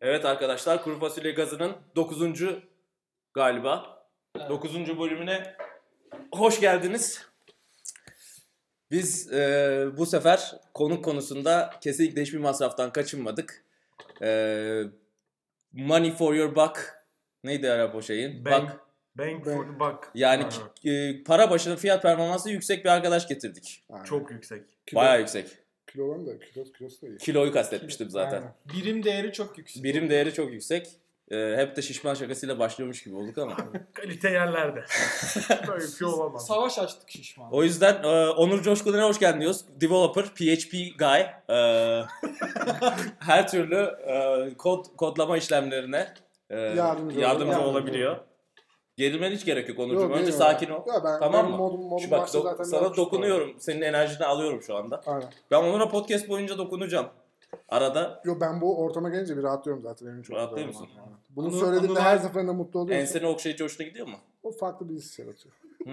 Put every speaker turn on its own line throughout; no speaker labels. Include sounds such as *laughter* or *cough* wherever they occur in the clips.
Evet arkadaşlar kuru fasulye gazının 9. galiba.
Evet.
9. bölümüne hoş geldiniz. Biz e, bu sefer konuk konusunda kesinlikle hiçbir masraftan kaçınmadık. E, money for your buck. Neydi Arap o şeyin?
Bang.
Buck.
Bang for the buck.
Yani
Aynen.
ki- e, para başına fiyat performansı yüksek bir arkadaş getirdik.
Aynen.
çok yüksek.
kilo,
Bayağı yüksek.
kilo olan da kilo, kilosu da iyi.
Kiloyu kastetmiştim zaten.
Aynen.
Birim değeri çok yüksek.
Birim değeri çok yüksek. E, hep de şişman şakasıyla başlıyormuş gibi olduk
*laughs*
ama.
Kalite *laughs* yerlerde. Böyle bir şey olamaz.
Savaş açtık şişman.
O yüzden e, Onur Coşkun'a hoş geldin diyoruz. Developer, PHP guy. E, *laughs* her türlü e, kod kodlama işlemlerine e, yardımcı,
Ee, Yardımcı olur,
olabiliyor.
yardımcı.
Gerilmene hiç gerek yok
Yok,
Onurcuğum. Önce
değil mi?
sakin ol.
Ya ben,
Tamam
benim
mı?
Modum, modum
Şu bak
varsa
do-
zaten
sana
yapmış
dokunuyorum. Senin enerjini alıyorum şu anda.
olurum. Aynen.
Ben Onur'a podcast boyunca dokunacağım. Arada
Yo ben bu ortama gelince bir rahatlıyorum zaten. Benim çok
Rahatlıyor
güzel
musun?
olmam. Aynen. Bunu
Anıl-
söylediğinde
Anılay-
her seferinde mutlu oluyorsun.
enseni okşayıcı hoşuna gidiyor mu?
O farklı bir his yaratıyor.
Hı?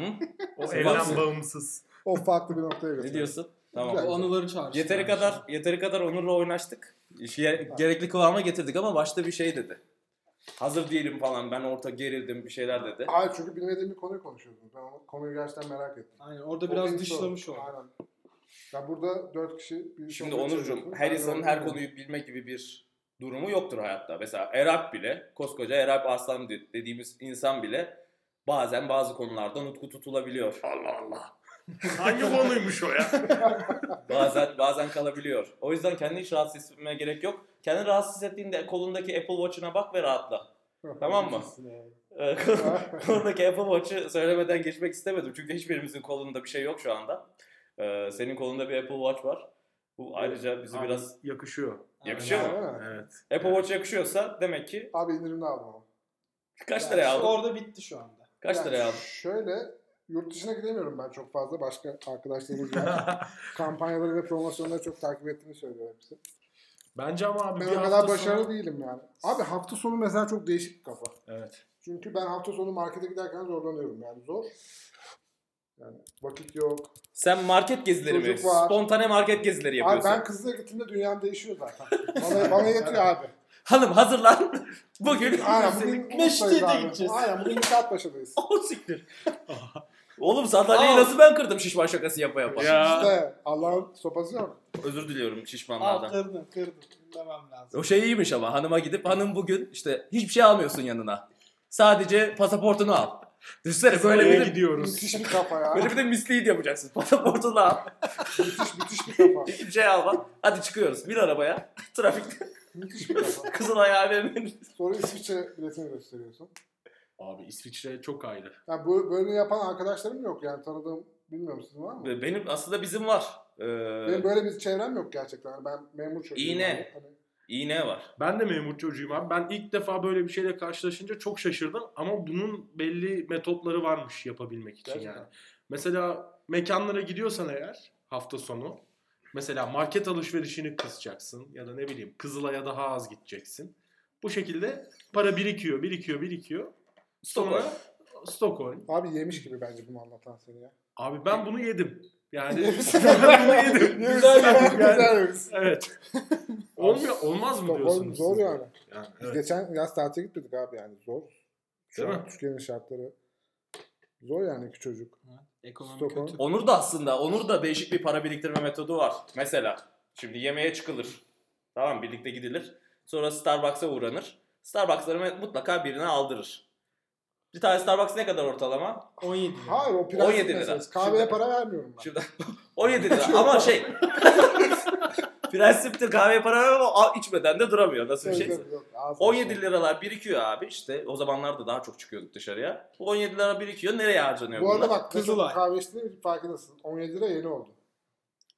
O
Savaş-
evden bağımsız.
O farklı bir noktaya götürüyor.
Ne diyorsun? Tamam.
Güzel.
O anıları şey. çağırsın.
Yeteri
kardeşim.
kadar yeteri kadar Onur'la oynaştık. İşi ye- gerekli kıvama getirdik ama başta bir şey dedi. Hazır değilim falan ben orta gerildim bir şeyler dedi.
Hayır çünkü bilmediğim bir konuyu konuşuyordunuz. Ben o konuyu gerçekten merak ettim.
Aynen orada
O
biraz
beni
dışlamış
sordu.
oldu.
Aynen. Ya burada dört kişi... Bir
Şimdi
sohbet
Onurcuğum
çeviriyorsun.
her
Ben
insanın
öğrendim
her
bunu.
konuyu bilmek gibi bir durumu yoktur hayatta. Mesela Erap bile koskoca Erap Aslan de- dediğimiz insan bile bazen bazı konularda nutku tutulabiliyor.
Allah Allah. Hangi konuymuş o ya?
Bazen bazen kalabiliyor. O yüzden kendini hiç rahatsız hissetmeye gerek yok. Kendini rahatsız hissettiğinde kolundaki Apple Watch'ına bak ve
*laughs*
rahatla. Tamam mı? Ee, *laughs* kolundaki Apple Watch'ı söylemeden geçmek istemedim. Çünkü hiçbirimizin kolunda bir şey yok şu anda. Ee, senin kolunda bir Apple Watch var. Bu ayrıca bizi
Abi,
biraz
*laughs* yakışıyor.
yakışıyor mu?
Aynen.
Evet.
Apple Watch yakışıyorsa demek ki
Abi indirimde aldım ama.
kaç
Yani
liraya
İşte
aldın?
orada bitti şu anda.
Kaç
Yani
liraya aldın?
Şöyle yurt dışına gidemiyorum ben çok fazla. Başka
*laughs*
arkadaşlarımız var. Kampanyaları ve promosyonları çok takip ettiğini söylüyor hepsi.
*laughs* Bence ama abi
Ben
bir
o
hafta
kadar başarılı
sonra-
değilim yani. Abi hafta sonu mesela çok değişik bir kafa.
Evet.
Çünkü ben hafta sonu markete giderken zorlanıyorum yani zor. Yani vakit yok.
Sen market gezileri mi?
Çocuk var.
Spontane market gezileri
Abi
yapıyorsun.
ben kızla gittiğimde dünyam değişiyor zaten. Bana, bana
*laughs*
yetiyor abi.
Hanım hazırlan. *laughs* Bugün
Aynen
*laughs*
bugün
Meşte'ye
Mutlu'dayız
de
abi.
gideceğiz.
Aynen bugün Nikatpaşa'dayız.
o Oh, siktir. Oğlum sandalyeyi
Al.
nasıl ben kırdım şişman şakası yapa yapa.
Ya.
İşte Allah'ın sopası yok.
Özür diliyorum
Al
şişmanlardan.
kırdın kırdın. Demem
*laughs*
lazım.
O şey iyiymiş ama hanıma gidip hanım bugün işte hiçbir şey almıyorsun yanına. Sadece pasaportunu al. Düşünsene böyle
Böyle
bir de,
gidiyoruz.
Müthiş bir kafa ya.
böyle bir de mislead yapacaksın. *laughs* Pasaportunu al.
müthiş müthiş bir kafa.
Hiçbir şey alma. Hadi çıkıyoruz. Bin arabaya. *laughs* Trafikte.
Müthiş bir kafa.
Kızın ayağı vermeyin.
Sonra İsviçre biletini gösteriyorsun.
Abi İsviçre çok ayrı.
Yani bu bölümü yapan arkadaşlarım yok yani tanıdığım bilmiyorum sizin var mı?
Benim aslında bizim var.
Benim
Ee,
böyle bir çevrem yok gerçekten. Yani ben memur çocuğum.
İğne.
Yani. Hani
iğne var.
Ben de memur çocuğuyum abi. Ben ilk defa böyle bir şeyle karşılaşınca çok şaşırdım. Ama bunun belli metotları varmış yapabilmek için
Gerçekten.
yani. Mesela mekanlara gidiyorsan eğer hafta sonu mesela market alışverişini kısacaksın ya da ne bileyim Kızılay'a daha az gideceksin. Bu şekilde para birikiyor, birikiyor, birikiyor. Sonra
Stockholm.
Stockholm.
Abi yemiş gibi bence bunu anlatan seni ya.
Abi ben bunu yedim.
*laughs*
Yani *laughs* ben bunu yedim.
Güzel
şey.
Yani-
güzel
şey.
yemiş.
Evet. Olmuyor, olmaz mı
Stockholm
diyorsunuz?
zor
siz de?
yani.
Yani,
Biz
evet.
geçen yaz tatile gitmedik abi yani zor. Şu
Değil
an
mi?
Türkiye'nin şartları zor yani iki çocuk.
Ekonomi
şey.
Stockholm.
kötü.
Onur da aslında. Onur da değişik bir para biriktirme metodu var. Mesela şimdi yemeğe çıkılır. Tamam birlikte gidilir. Sonra Starbucks'a uğranır. Starbucks'ları mutlaka birine aldırır. Bir tane Starbucks ne kadar ortalama?
17 lira.
Hayır o prensip
17 lira.
meselesi. Kahveye
Şimdi-
para vermiyorum ben.
Şimdi 17 lira ama şey. *laughs* prensiptir kahveye para vermem ama al- içmeden de duramıyor. Nasıl bir
Evet,
şey?
evet, yok, ağzına
17
şey.
liralar birikiyor abi işte. O zamanlarda daha çok çıkıyorduk dışarıya. Bu 17 lira birikiyor. Nereye harcanıyor
Bu arada
bunlar?
bak
Kızılay.
Kızılay. kahve içtiğinde farkındasın. 17 lira yeni oldu.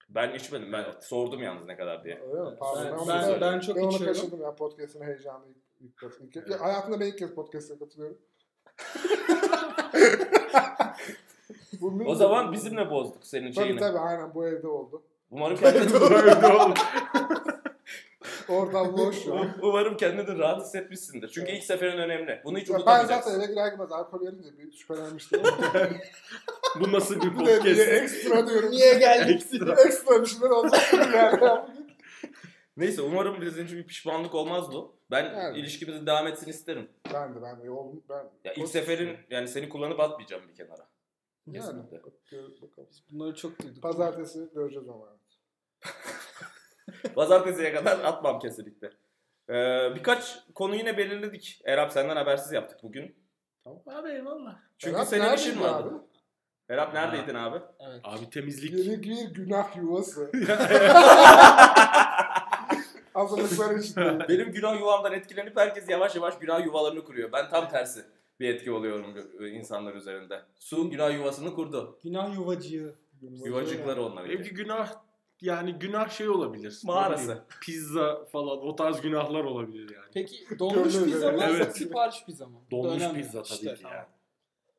Ben içmedim. Ben sordum yalnız ne kadar diye.
Öyle mi? Pardon.
Ben,
onu
ben,
da-
ben çok
ben onu
içiyorum.
kaçırdım ya podcast'ın heyecanı ilk, ilk, kez- ilk kez- Ya, hayatımda ben ilk kez
*laughs*
podcast'a katılıyorum. Bu mümkün.
O zaman bizimle bozduk senin
Tabii
şeyini.
tabii aynen bu evde oldu.
Umarım
*laughs*
kendini,
Öyle oldu.
*laughs*
Ortam boş şu an.
umarım kendini rahat hissetmişsindir. Çünkü ilk seferin önemli. Bunu hiç
Ya ben
unutamayacaksın.
zaten eve girer girmez alkol verince bir
*laughs*
şüphelenmiştim. ama
Bu nasıl bir
*laughs* bu da diye
*laughs* podcast?
ekstra diyorum.
Niye geldik?
Ekstra.
ekstra bir şeyler oldu. Yani.
Neyse umarım bizim için bir pişmanlık olmaz bu. Ben
Yani.
ilişkimizin devam etsin isterim.
Ben de ben de yolum ben.
Ya ilk seferin yani seni kullanıp atmayacağım bir kenara.
Yani.
Kesinlikle.
Gör- bakalım.
Bunları çok duyduk.
Pazartesi göreceğiz ama.
Pazartesiye kadar atmam kesinlikle. Ee, birkaç konu yine belirledik. Erap senden habersiz yaptık bugün.
Abi eyvallah.
Çünkü
Berat
senin
neredeydin
işin vardı.
abi?
Erap
Ha.
neredeydin abi?
Evet.
Abi temizlik.
Yeni bir günah
*laughs*
yuvası. *laughs* Hazırlıklar içinde.
Benim günah yuvamdan etkilenip herkes yavaş yavaş günah yuvalarını kuruyor. Ben tam tersi bir etki oluyorum gö- insanlar üzerinde. Su günah yuvasını kurdu.
Günah yuvacığı.
Yuvacıkları onlar.
Belki günah yani günah şey olabilir.
Mağarası.
Ne bileyim, Pizza falan o tarz günahlar olabilir yani.
Peki donmuş
Gördüğünüz
pizza mı?
üzere.
Evet.
Sipariş pizza mı?
Donmuş
Önemli.
pizza tabii
İşte,
ki
tamam.
yani.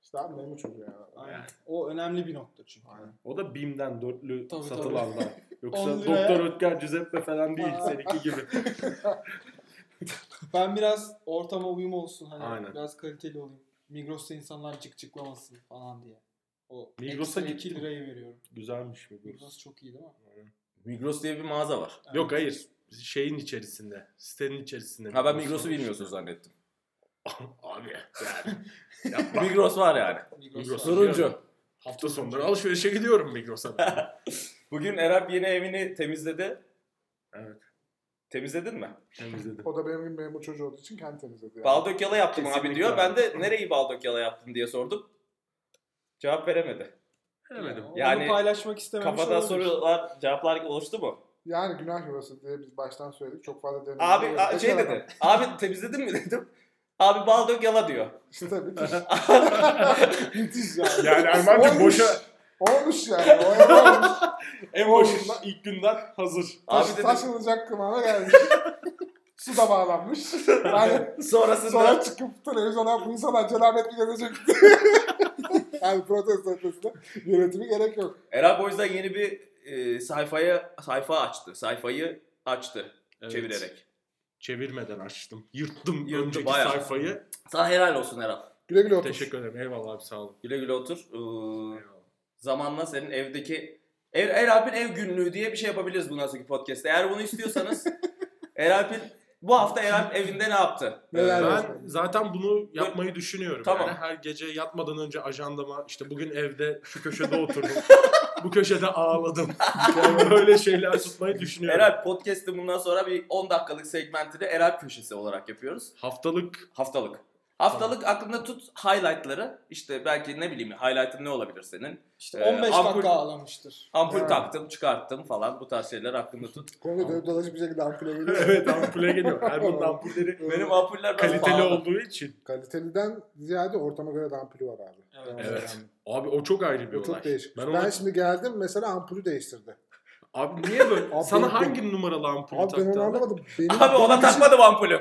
İşte abi benim çocuğu ya.
Aynen. O önemli bir nokta çünkü.
Aynen.
O da BİM'den dörtlü
Tabii,
satılanlar. Yoksa
On liraya-
Doktor Ötker Giuseppe falan değil
Aa.
seninki gibi.
Ben biraz ortama uyum olsun hani
Aynen.
biraz kaliteli olayım. Migros'ta insanlar cık cıklamasın falan diye. O
Migros'a
Migros'a
gittin
2
mi?
lirayı veriyorum.
Güzelmiş bu.
Migros çok iyi değil mi?
Migros diye bir mağaza var.
Evet.
Yok hayır. Şeyin içerisinde. Sitenin içerisinde.
Ha ben Migros'u bilmiyorsun *laughs* zannettim.
*laughs* Abi yani. Yapma.
Migros var yani.
Migros,
Migros.
var.
Turuncu.
Hafta sonları alışverişe gidiyorum Migros'a. ben.
Bugün Erap yeni evini temizledi.
Evet.
Temizledin mi?
Temizledim.
O da benim gibi memur çocuğu olduğu için kendi temizledi. Yani.
Baldokyala yaptım abi
Kesinlikle.
diyor. Ben de nereyi baldokyala yaptın diye sordum. Cevap veremedi.
Bilemedim.
Onu
Yani
paylaşmak istememiş
Kafada
olabilir.
sorular, cevaplar oluştu mu?
Yani günah yuvası diye biz baştan söyledik. Çok fazla deneyim.
Abi a- şey dedi. Abi temizledin mi dedim. Abi baldokyala diyor.
*laughs* İşte
*laughs*
müthiş. *laughs* müthiş yani.
Yani Erman'cığım
Olmuş.
boşa
Olmuş yani. O olmuş.
en başından ilk günden hazır.
Abi
Taş,
dedim.
taşınacak kıvama gelmiş. Su da bağlanmış.
*laughs*
Yani
Sonrasında
sonra çıkıp televizyona bu insanlar cenabet mi gelecek?
*laughs*
yani protesto ötesinde yönetimi gerek yok.
Erap o yüzden yeni bir e, sayfaya sayfa açtı. Sayfayı açtı çevirerek.
Çevirmeden açtım. Yırttım
Yırttı
önceki
bayağı.
sayfayı.
Sana helal olsun Erap.
Güle güle otur.
Teşekkür ederim. Eyvallah abi sağ olun.
Güle güle otur. Ee,
Eyvallah.
zamanla senin evdeki Er, Eralp'in ev günlüğü diye bir şey yapabiliriz bundan sonraki podcast'te. Eğer bunu
*laughs*
istiyorsanız Eralp'in bu hafta Eralp evinde ne yaptı?
Neler
Ee,
yaptı?
Ben zaten bunu yapmayı düşünüyorum.
Tamam.
Yani her gece yatmadan önce ajandama işte bugün evde şu köşede
*laughs*
oturdum. bu köşede ağladım. Yani böyle şeyler tutmayı düşünüyorum.
Eralp podcast'ı Er bundan sonra bir 10 dakikalık segmentini Eralp köşesi olarak yapıyoruz.
Haftalık
Haftalık. Haftalık aklında tut highlight'ları. İşte belki ne bileyim highlight'ın ne olabilir senin?
İşte
Ee,
15
ampul-
dakika ağlamıştır.
Ampul
Evet.
taktım, çıkarttım falan bu tarz şeyler aklında tut.
Konuda dönüp dolaşıp bir
*laughs*
şekilde ampule geliyor.
evet ampule geliyor. Erman'ın
*laughs*
ampulleri
Benim ampuller biraz
kaliteli
pahalı.
olduğu için.
Kaliteliden ziyade ortama göre de ampulü var abi.
Evet.
Evet. Abi o çok ayrı bir
Bu
olay.
çok değişik.
Ben
Ben,
onu-
şimdi geldim mesela ampulü değiştirdi.
Abi niye böyle?
Abi
Sana
benim-
hangi numaralı ampul
Abi ben
*laughs*
onu anlamadım. Benim,
Abi ona takmadım ampulü.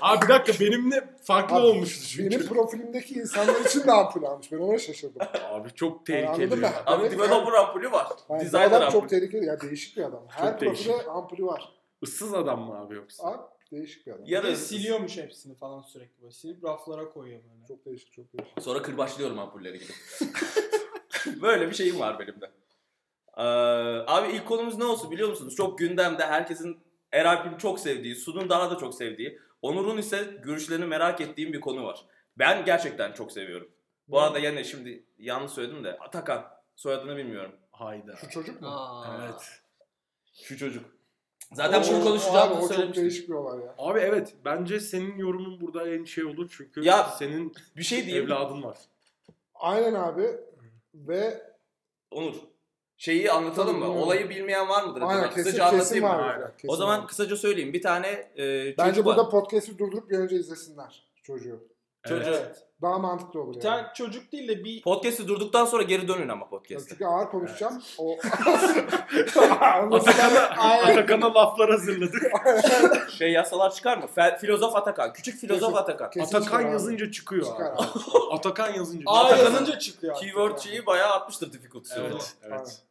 Abi bir dakika benimle farklı
Abi,
olmuştu çünkü.
*laughs* benim profilimdeki insanlar için de ampul almış. Ben
*laughs*
ona şaşırdım.
Abi çok
Yani anladın
tehlikeli.
mı?
Abi
Evet,
developer ampulü var.
Aynen. Bu
Designer
adam
ampulü.
çok tehlikeli. Ya değişik bir adam. Her profilde
değişik.
ampulü var.
Issız adam mı abi yoksa?
Abi değişik bir adam.
Bir de
Yarın
siliyormuş hepsini falan sürekli böyle. Silip raflara koyuyor böyle.
Çok değişik çok değişik.
Sonra kırbaçlıyorum ampulleri gidip. *laughs* Böyle bir şeyim var benim de. Ee, abi ilk konumuz ne olsun biliyor musunuz? Çok gündemde herkesin Eralp'in çok sevdiği, Sun'un daha da çok sevdiği, Onur'un ise görüşlerini merak ettiğim bir konu var. Ben gerçekten çok seviyorum. Bu arada yine şimdi yanlış söyledim de Atakan soyadını bilmiyorum.
Hayda.
Şu çocuk mu?
Aa.
Evet.
Şu çocuk. Zaten bunu
Abi,
konuşacağımızı
o çok
söylemiştim.
değişik bir olay ya.
Abi evet bence senin yorumun burada en şey olur çünkü
Ya-
senin
Bir şey diyeyim.
evladın var.
Aynen abi. Ve
Onur. Şeyi anlatalım mı?
Tabii,
Olayı bilmeyen var mıdır?
aynen
acaba?
kesin,
Kısaca
kesin
anlatayım mı?
var.
Aynen.
ya, kesin
O zaman
var.
kısaca söyleyeyim. Bir tane e, çocuk
bence
var.
burada podcast'i durdurup bir önce izlesinler çocuğu.
Çocuğu.
Evet.
Daha mantıklı olur
Bir
yani.
tane çocuk değil de *laughs* bir
Podcast'i durduktan sonra geri dönün ama podcast'e.
Çünkü ağır konuşacağım. O *laughs*
Atakan'a, Atakan'a laflar hazırladık.
Şey yasalar çıkar mı? Fe- filozof Atakan. Küçük filozof
Kesin.
Atakan.
Kesin çıkar
Atakan
abi.
yazınca çıkıyor
çıkar
abi.
abi.
Atakan yazınca çıkıyor.
A
Atakan'ın-
yazınca çıkıyor. artık.
Keyword şeyi bayağı artmıştır difficulty'si. o zaman.
Evet. evet.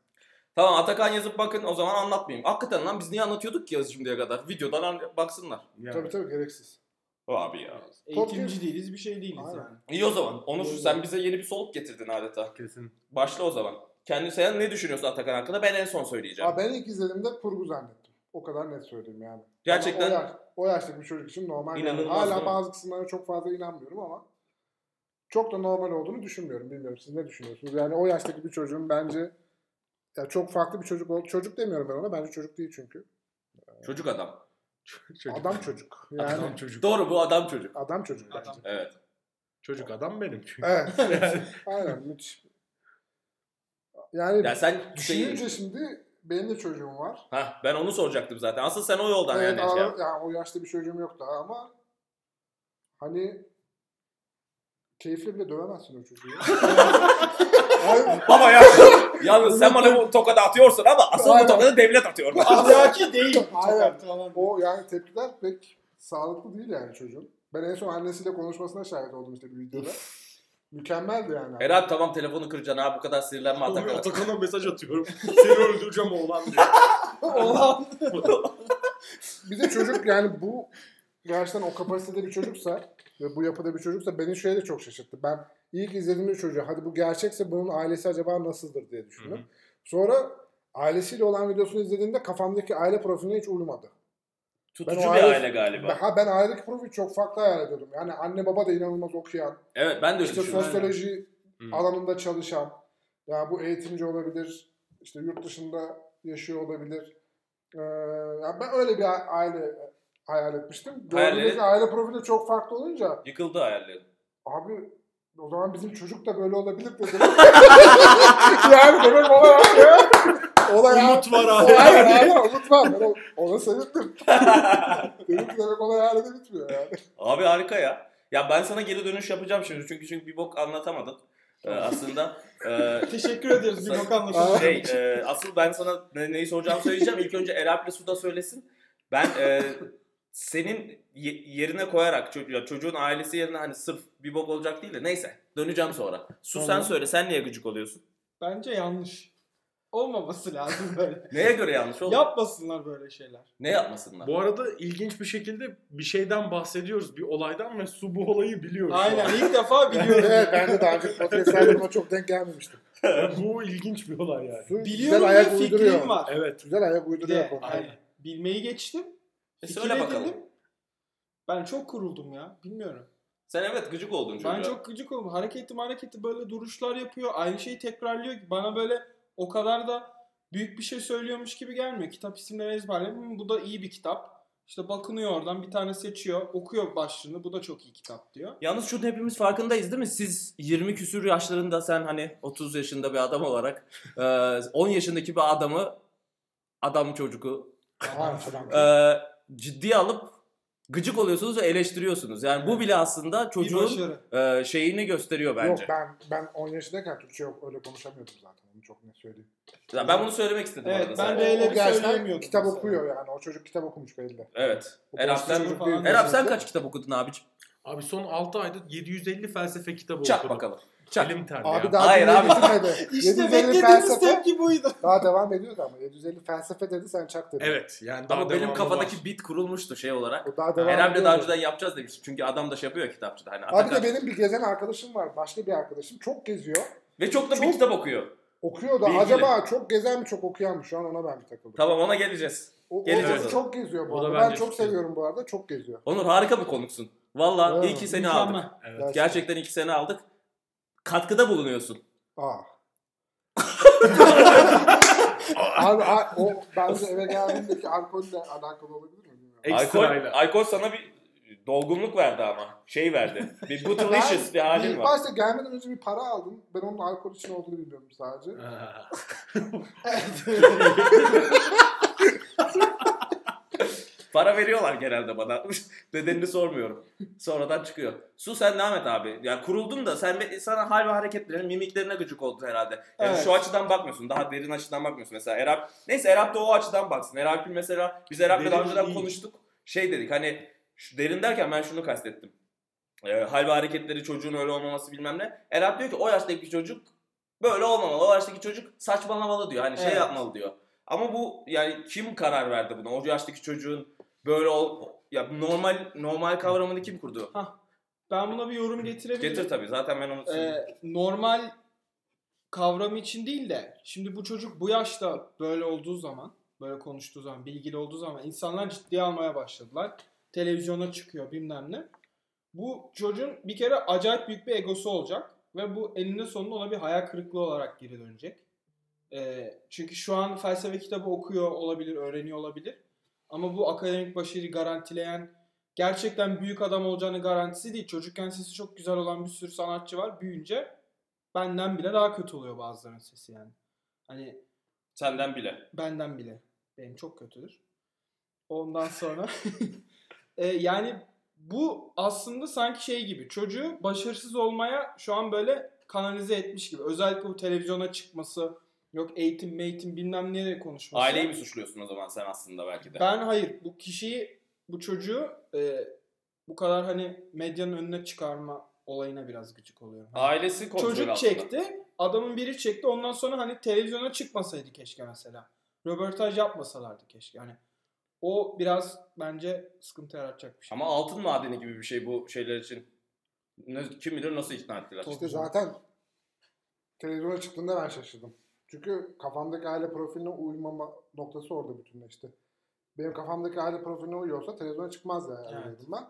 Tamam Atakan yazıp bakın o zaman anlatmayayım. Hakikaten lan biz niye anlatıyorduk ki yazı şimdiye kadar? Videodan an- baksınlar.
Yani.
Tabii tabii gereksiz.
Abi ya.
Eğitimci değiliz bir şey değiliz
Aynen.
yani.
İyi o zaman. Onur sen bize yeni bir soluk getirdin adeta.
Kesin.
Başla o zaman. Kendi sen ne düşünüyorsun Atakan hakkında? Ben en son söyleyeceğim.
Aa, ben ilk izlediğimde kurgu zannettim. O kadar net söyleyeyim yani.
Gerçekten
Ama O, yaş, o yaştaki bir çocuk için normal. yani.
İnanılmaz değil mi?
Hala bazı kısımlarına çok fazla inanmıyorum ama çok da normal olduğunu düşünmüyorum. Bilmiyorum siz ne düşünüyorsunuz? Yani o yaştaki bir çocuğun bence ya çok farklı bir çocuk ol. Çocuk demiyorum ben ona. Bence çocuk değil çünkü.
çocuk adam.
Çocuk.
Adam çocuk. Yani adam,
Adam çocuk.
Doğru bu adam çocuk.
çocuk bence.
Adam.
*laughs*
Evet.
Çocuk adam benim çünkü.
Evet. Aynen müthiş. Yani
Ya sen
düşününce
şey,
şimdi benim de çocuğum var.
Hah, ben onu soracaktım zaten. Asıl sen o yoldan
evet,
yani. şey yap.
ara- yani o yaşta bir çocuğum yok daha ama hani keyifle bile dövemezsin
*laughs*
o çocuğu. Hayır,
Baba
*laughs*
ya. Yalnız sen bana bu tokadı atıyorsun ama asıl bu
*laughs* Aynen.
tokadı devlet atıyor.
Ahlaki değil.
Aynen.
Tokat falan.
o yani tepkiler pek sağlıklı değil yani çocuğun. Ben en son annesiyle konuşmasına şahit oldum işte bir videoda. Mükemmeldi yani.
Erhan tamam telefonu kıracaksın ha bu kadar sinirlenme
Atakan.
Atakan.
Atakan'a mesaj atıyorum. Seni öldüreceğim oğlan
*laughs*
diye.
Olan.
Bir de çocuk yani bu gerçekten o kapasitede bir çocuksa ve bu yapıda bir çocuksa beni şöyle de çok şaşırttı. Ben ilk izlediğimde çocuğu hadi bu gerçekse bunun ailesi acaba nasıldır diye düşündüm.
Hı hı.
Sonra ailesiyle olan videosunu izlediğimde kafamdaki aile profiline hiç uymadı.
Tutucu
Ben
bir
o
aile,
aile-
galiba.
Ha ben ailedeki profili çok farklı hayal ediyordum. Yani anne baba da inanılmaz okuyan,
Evet ben de öyle
işte
düşünüyorum.
sosyoloji
Hı.
alanında çalışan, yani bu eğitimci olabilir, işte yurt dışında yaşıyor olabilir. Ee, yani ben öyle bir a- aile e, hayal etmiştim.
Hayalleri-
Gördüğünüz aile profili çok farklı olunca
Yıkıldı
*laughs*
hayallerim.
abi o zaman bizim çocuk da böyle olabilir dedim. yani demek olay abi. Olay abi.
Umut var abi.
Olay var abi. Umut var. Ben o- ona sevindim. dedim ki demek olay ailede bitmiyor yani.
Abi harika ya. Ya ben sana geri dönüş yapacağım şimdi çünkü çünkü bir bok anlatamadım Ee, aslında.
*laughs*
Ee,
Teşekkür ederiz. Bir bok
Aa.
anlaşıldı.
şey, e, asıl ben sana ne- neyi soracağımı söyleyeceğim. İlk önce Erap'le Suda söylesin. Ben e, senin ye- yerine koyarak çocuğa, çocuğun ailesi yerine hani sırf bir bok olacak değil de neyse döneceğim sonra. Su sen
Tamam.
söyle sen niye gıcık oluyorsun?
Bence yanlış. Olmaması lazım
*laughs*
böyle.
Neye göre yanlış oldu?
Yapmasınlar böyle şeyler.
Ne yapmasınlar?
Bu arada ilginç bir şekilde bir şeyden bahsediyoruz. Bir olaydan ve su bu olayı biliyor. şu an.
Aynen ilk defa biliyorum.
evet ben de daha önce podcastlerde buna çok denk gelmemiştim.
*laughs* bu ilginç bir olay yani.
Su
biliyorum
güzel
ve
ayak
fikrim
uyduruyor.
var.
Evet.
Güzel ayak
Bir
uyduruyor
de
konuya.
aynen. bilmeyi geçtim.
E,
fikir
söyle bakalım.
edindim. Ben çok kuruldum ya. Bilmiyorum.
Sen evet gıcık oldun çocuğa.
Ben çok gıcık oldum. Hareketi hareketi böyle duruşlar yapıyor. Aynı şeyi tekrarlıyor ki bana böyle o kadar da büyük bir şey söylüyormuş gibi gelmiyor. Kitap isimleri ezberledim. Hı, Bu da iyi bir kitap. İşte bakınıyor oradan bir tane seçiyor. Okuyor başlığını. Bu da çok iyi kitap diyor.
Yalnız şunu hepimiz farkındayız değil mi? Siz 20 küsür yaşlarında sen hani 30 yaşında bir adam olarak e, 10 yaşındaki bir adamı adam çocuğu
Aa, adam.
e, ciddiye alıp gıcık oluyorsunuz ve eleştiriyorsunuz. Yani bu bile aslında
Bir
çocuğun
başarı.
e, şeyini gösteriyor Ee, bence.
Yok ben ben 10 yaşındayken Türkçe yok öyle konuşamıyordum zaten. Onu çok net söyleyeyim.
Ya Ben bunu söylemek istedim
Evet,
arada
ben
sadece.
de- Reyleri
O gerçekten
söyleyemiyordum
kitap
mesela.
okuyor yani. O çocuk kitap okumuş belli.
Evet.
O
Erap
boş bir
sen-
çocuk
Erap
değil.
Erap sen kaç kitap okudun abiciğim?
Abi son 6 ayda 750 felsefe kitabı
Çak
okudum.
bakalım. Çak.
Elim terli
Abi
ya.
daha
Hayır
Hayır,
abi.
bitirmedi.
*laughs* İşte
750
beklediğiniz
felsefe
tepki buydu.
daha devam ediyordu ama. 750 felsefe dedi sen çak dedin.
Evet yani daha
Ama benim
devamı
kafadaki
var.
bit kurulmuştu şey olarak.
O daha devam
Erap'le
ediyordu.
daha önceden yapacağız demiştim. Çünkü adam da şey yapıyor kitapçıda. Hani
Abi
Atakan.
de benim bir gezen arkadaşım var. Başka bir arkadaşım. Çok geziyor.
Ve çok da bir
Çok-
kitap okuyor.
Okuyor da
Bilgili.
acaba çok gezen mi çok okuyan mı? Şu an ona ben bir takıldım.
Tamam ona geleceğiz.
O, o
Geleceğiz
çocuk
ona.
çok geziyor bu
O da
arada.
bence
Ben çok
çok geziyor.
seviyorum bu arada. Çok geziyor.
Onur harika bir konuksun. Valla
Evet,
iyi ki seni aldık.
Mükemmel.
Evet.
Gerçekten iyi ki seni aldık. Katkıda bulunuyorsun.
Aa. abi, a- o bence eve geldiğimdeki alkolle alakalı olabilir mi? bilmiyorum.
Alkol,
Ekstrayla.
alkol sana bir dolgunluk verdi ama. Şey verdi. bir bootylicious bir halin
İlk
var.
başta gelmeden önce bir para aldım. Ben onun alkol için olduğunu bilmiyorum sadece.
Ha.
Para veriyorlar genelde bana. *laughs* Nedenini sormuyorum. Sonradan çıkıyor. Su sen devam et abi. Yani kuruldun da sen be- sana hal ve hareketlerine, mimiklerine gıcık oldun herhalde. Yani
Evet.
şu açıdan bakmıyorsun. Daha derin açıdan bakmıyorsun. Mesela Erap. Neyse Erap da o açıdan baksın. Erap'in mesela biz Erap'la daha
Derin
önceden
değil.
konuştuk. Şey dedik hani şu derin derken ben şunu kastettim. Ee, hal ve hareketleri çocuğun öyle olmaması bilmem ne. Erap diyor ki o yaştaki bir çocuk böyle olmamalı. O yaştaki çocuk saçmalamalı diyor. Hani şey
Evet.
yapmalı diyor. Ama bu yani kim karar verdi buna? O yaştaki çocuğun böyle ol ya normal normal kavramını kim kurdu?
Ben buna bir yorum getirebilirim.
Getir tabii. Zaten ben onu
Ee, normal kavramı için değil de şimdi bu çocuk bu yaşta böyle olduğu zaman böyle konuştuğu zaman bilgili olduğu zaman insanlar ciddiye almaya başladılar. Televizyona çıkıyor bilmem ne. Bu çocuğun bir kere acayip büyük bir egosu olacak ve bu eninde sonunda ona bir hayal kırıklığı olarak geri dönecek. Ee, çünkü şu an felsefe kitabı okuyor olabilir, öğreniyor olabilir. Ama bu akademik başarıyı garantileyen gerçekten büyük adam olacağını garantisi değil. Çocukken sesi çok güzel olan bir sürü sanatçı var. Büyüyünce benden bile daha kötü oluyor bazılarının sesi yani. Hani
Senden bile.
benden bile. Benim çok kötüdür. Ondan sonra *laughs* E, yani bu aslında sanki şey gibi çocuğu başarısız olmaya şu an böyle kanalize etmiş gibi. Özellikle bu televizyona çıkması, yok eğitim, meğitim bilmem nereye konuşması.
Aileyi mi suçluyorsun o zaman sen aslında belki de?
Ben hayır. Bu kişiyi, bu çocuğu e, bu kadar hani medyanın önüne çıkarma olayına biraz gıcık oluyorum. Hani
Ailesi kontrol
çocuk
altında.
çekti. Adamın biri çekti. Ondan sonra hani televizyona çıkmasaydı keşke mesela. Röportaj yapmasalardı keşke. Hani o biraz bence sıkıntı yaratacak bir şey.
Ama altın madeni gibi bir şey bu şeyler için. Ne, kim bilir nasıl ikna ettiler?
Tabii.
İşte zaten televizyona çıktığında ben şaşırdım. Çünkü kafamdaki aile profiline uymama noktası orada bütünleşti. Benim kafamdaki aile profiline uyuyorsa televizyona çıkmaz yani
Evet.
dedim ben.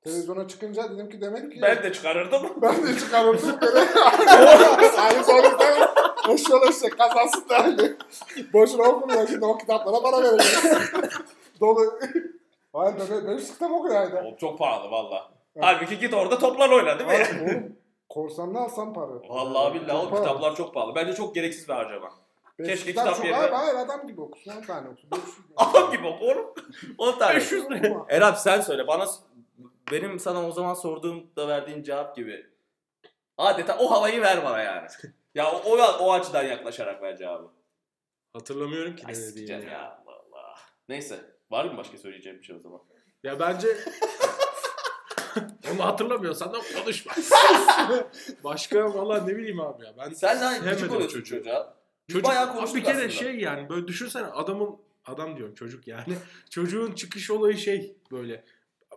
Televizyona çıkınca dedim ki demek ki
Ben de çıkarırdım.
ben de
*laughs*
çıkarırdım böyle. Aynı sonuçta boşuna işte kazansın da hani. Boşuna okumuyor şimdi o kitaplara para verecek. Dolu. Hayır ben, benim sıktım o kadardı.
O çok pahalı valla.
Evet.
Halbuki git orada toplan oyna değil mi?
Abi Oğlum korsanını alsam para.
Vallahi billahi
Çok
o
para.
kitaplar çok pahalı. Bence çok gereksiz bir harcama. *laughs*
Beş
Keşke
kitap
kitap
çok
yerine-
Hayır, hayır adam gibi okusun. 10 tane okusun.
Adam gibi oku oğlum. *laughs* 10 tane.
500 lira.
Erap sen söyle bana benim sana o zaman sorduğumda verdiğin cevap gibi. Adeta o havayı ver bana yani. ya o, o, o açıdan yaklaşarak ver cevabı.
*laughs* Hatırlamıyorum ki
Ay
ne dediğini.
sikeceğim
Ya.
ya. Allah Allah. Neyse. Var mı başka söyleyeceğim bir şey o zaman?
ya bence... *laughs* Onu hatırlamıyorsan da konuşma.
*laughs*
Başka valla ne bileyim abi ya. Ben
Sen daha
Sevmedim
küçük oluyorsun
çocuğu.
çocuğa. Biz
Çocuk,
bayağı
Abi
konuştuk
bir kere
aslında.
şey yani böyle düşünsene adamın adam diyorum çocuk yani. *laughs* Çocuğun çıkış olayı şey böyle.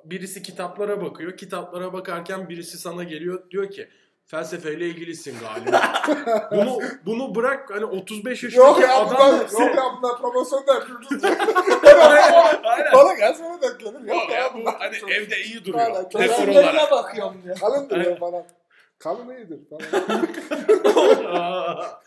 Birisi kitaplara bakıyor. Kitaplara bakarken birisi sana geliyor diyor ki felsefeyle ilgilisin galiba. bunu bunu bırak hani 35 yaşındaki
Yok ya
adam
bunlar,
dese-
yok ya bunlar promosyon da yapıyoruz.
Aynen.
Bana gelsene de gelir. Yok
Yok
ya
bu
bunlar.
hani
çok-
evde iyi
Aynen,
duruyor.
çok-
Dekor olarak.
Resimlerine bakıyorum diyor.
Kalındır ya falan. Kalın iyidir falan.
Aa.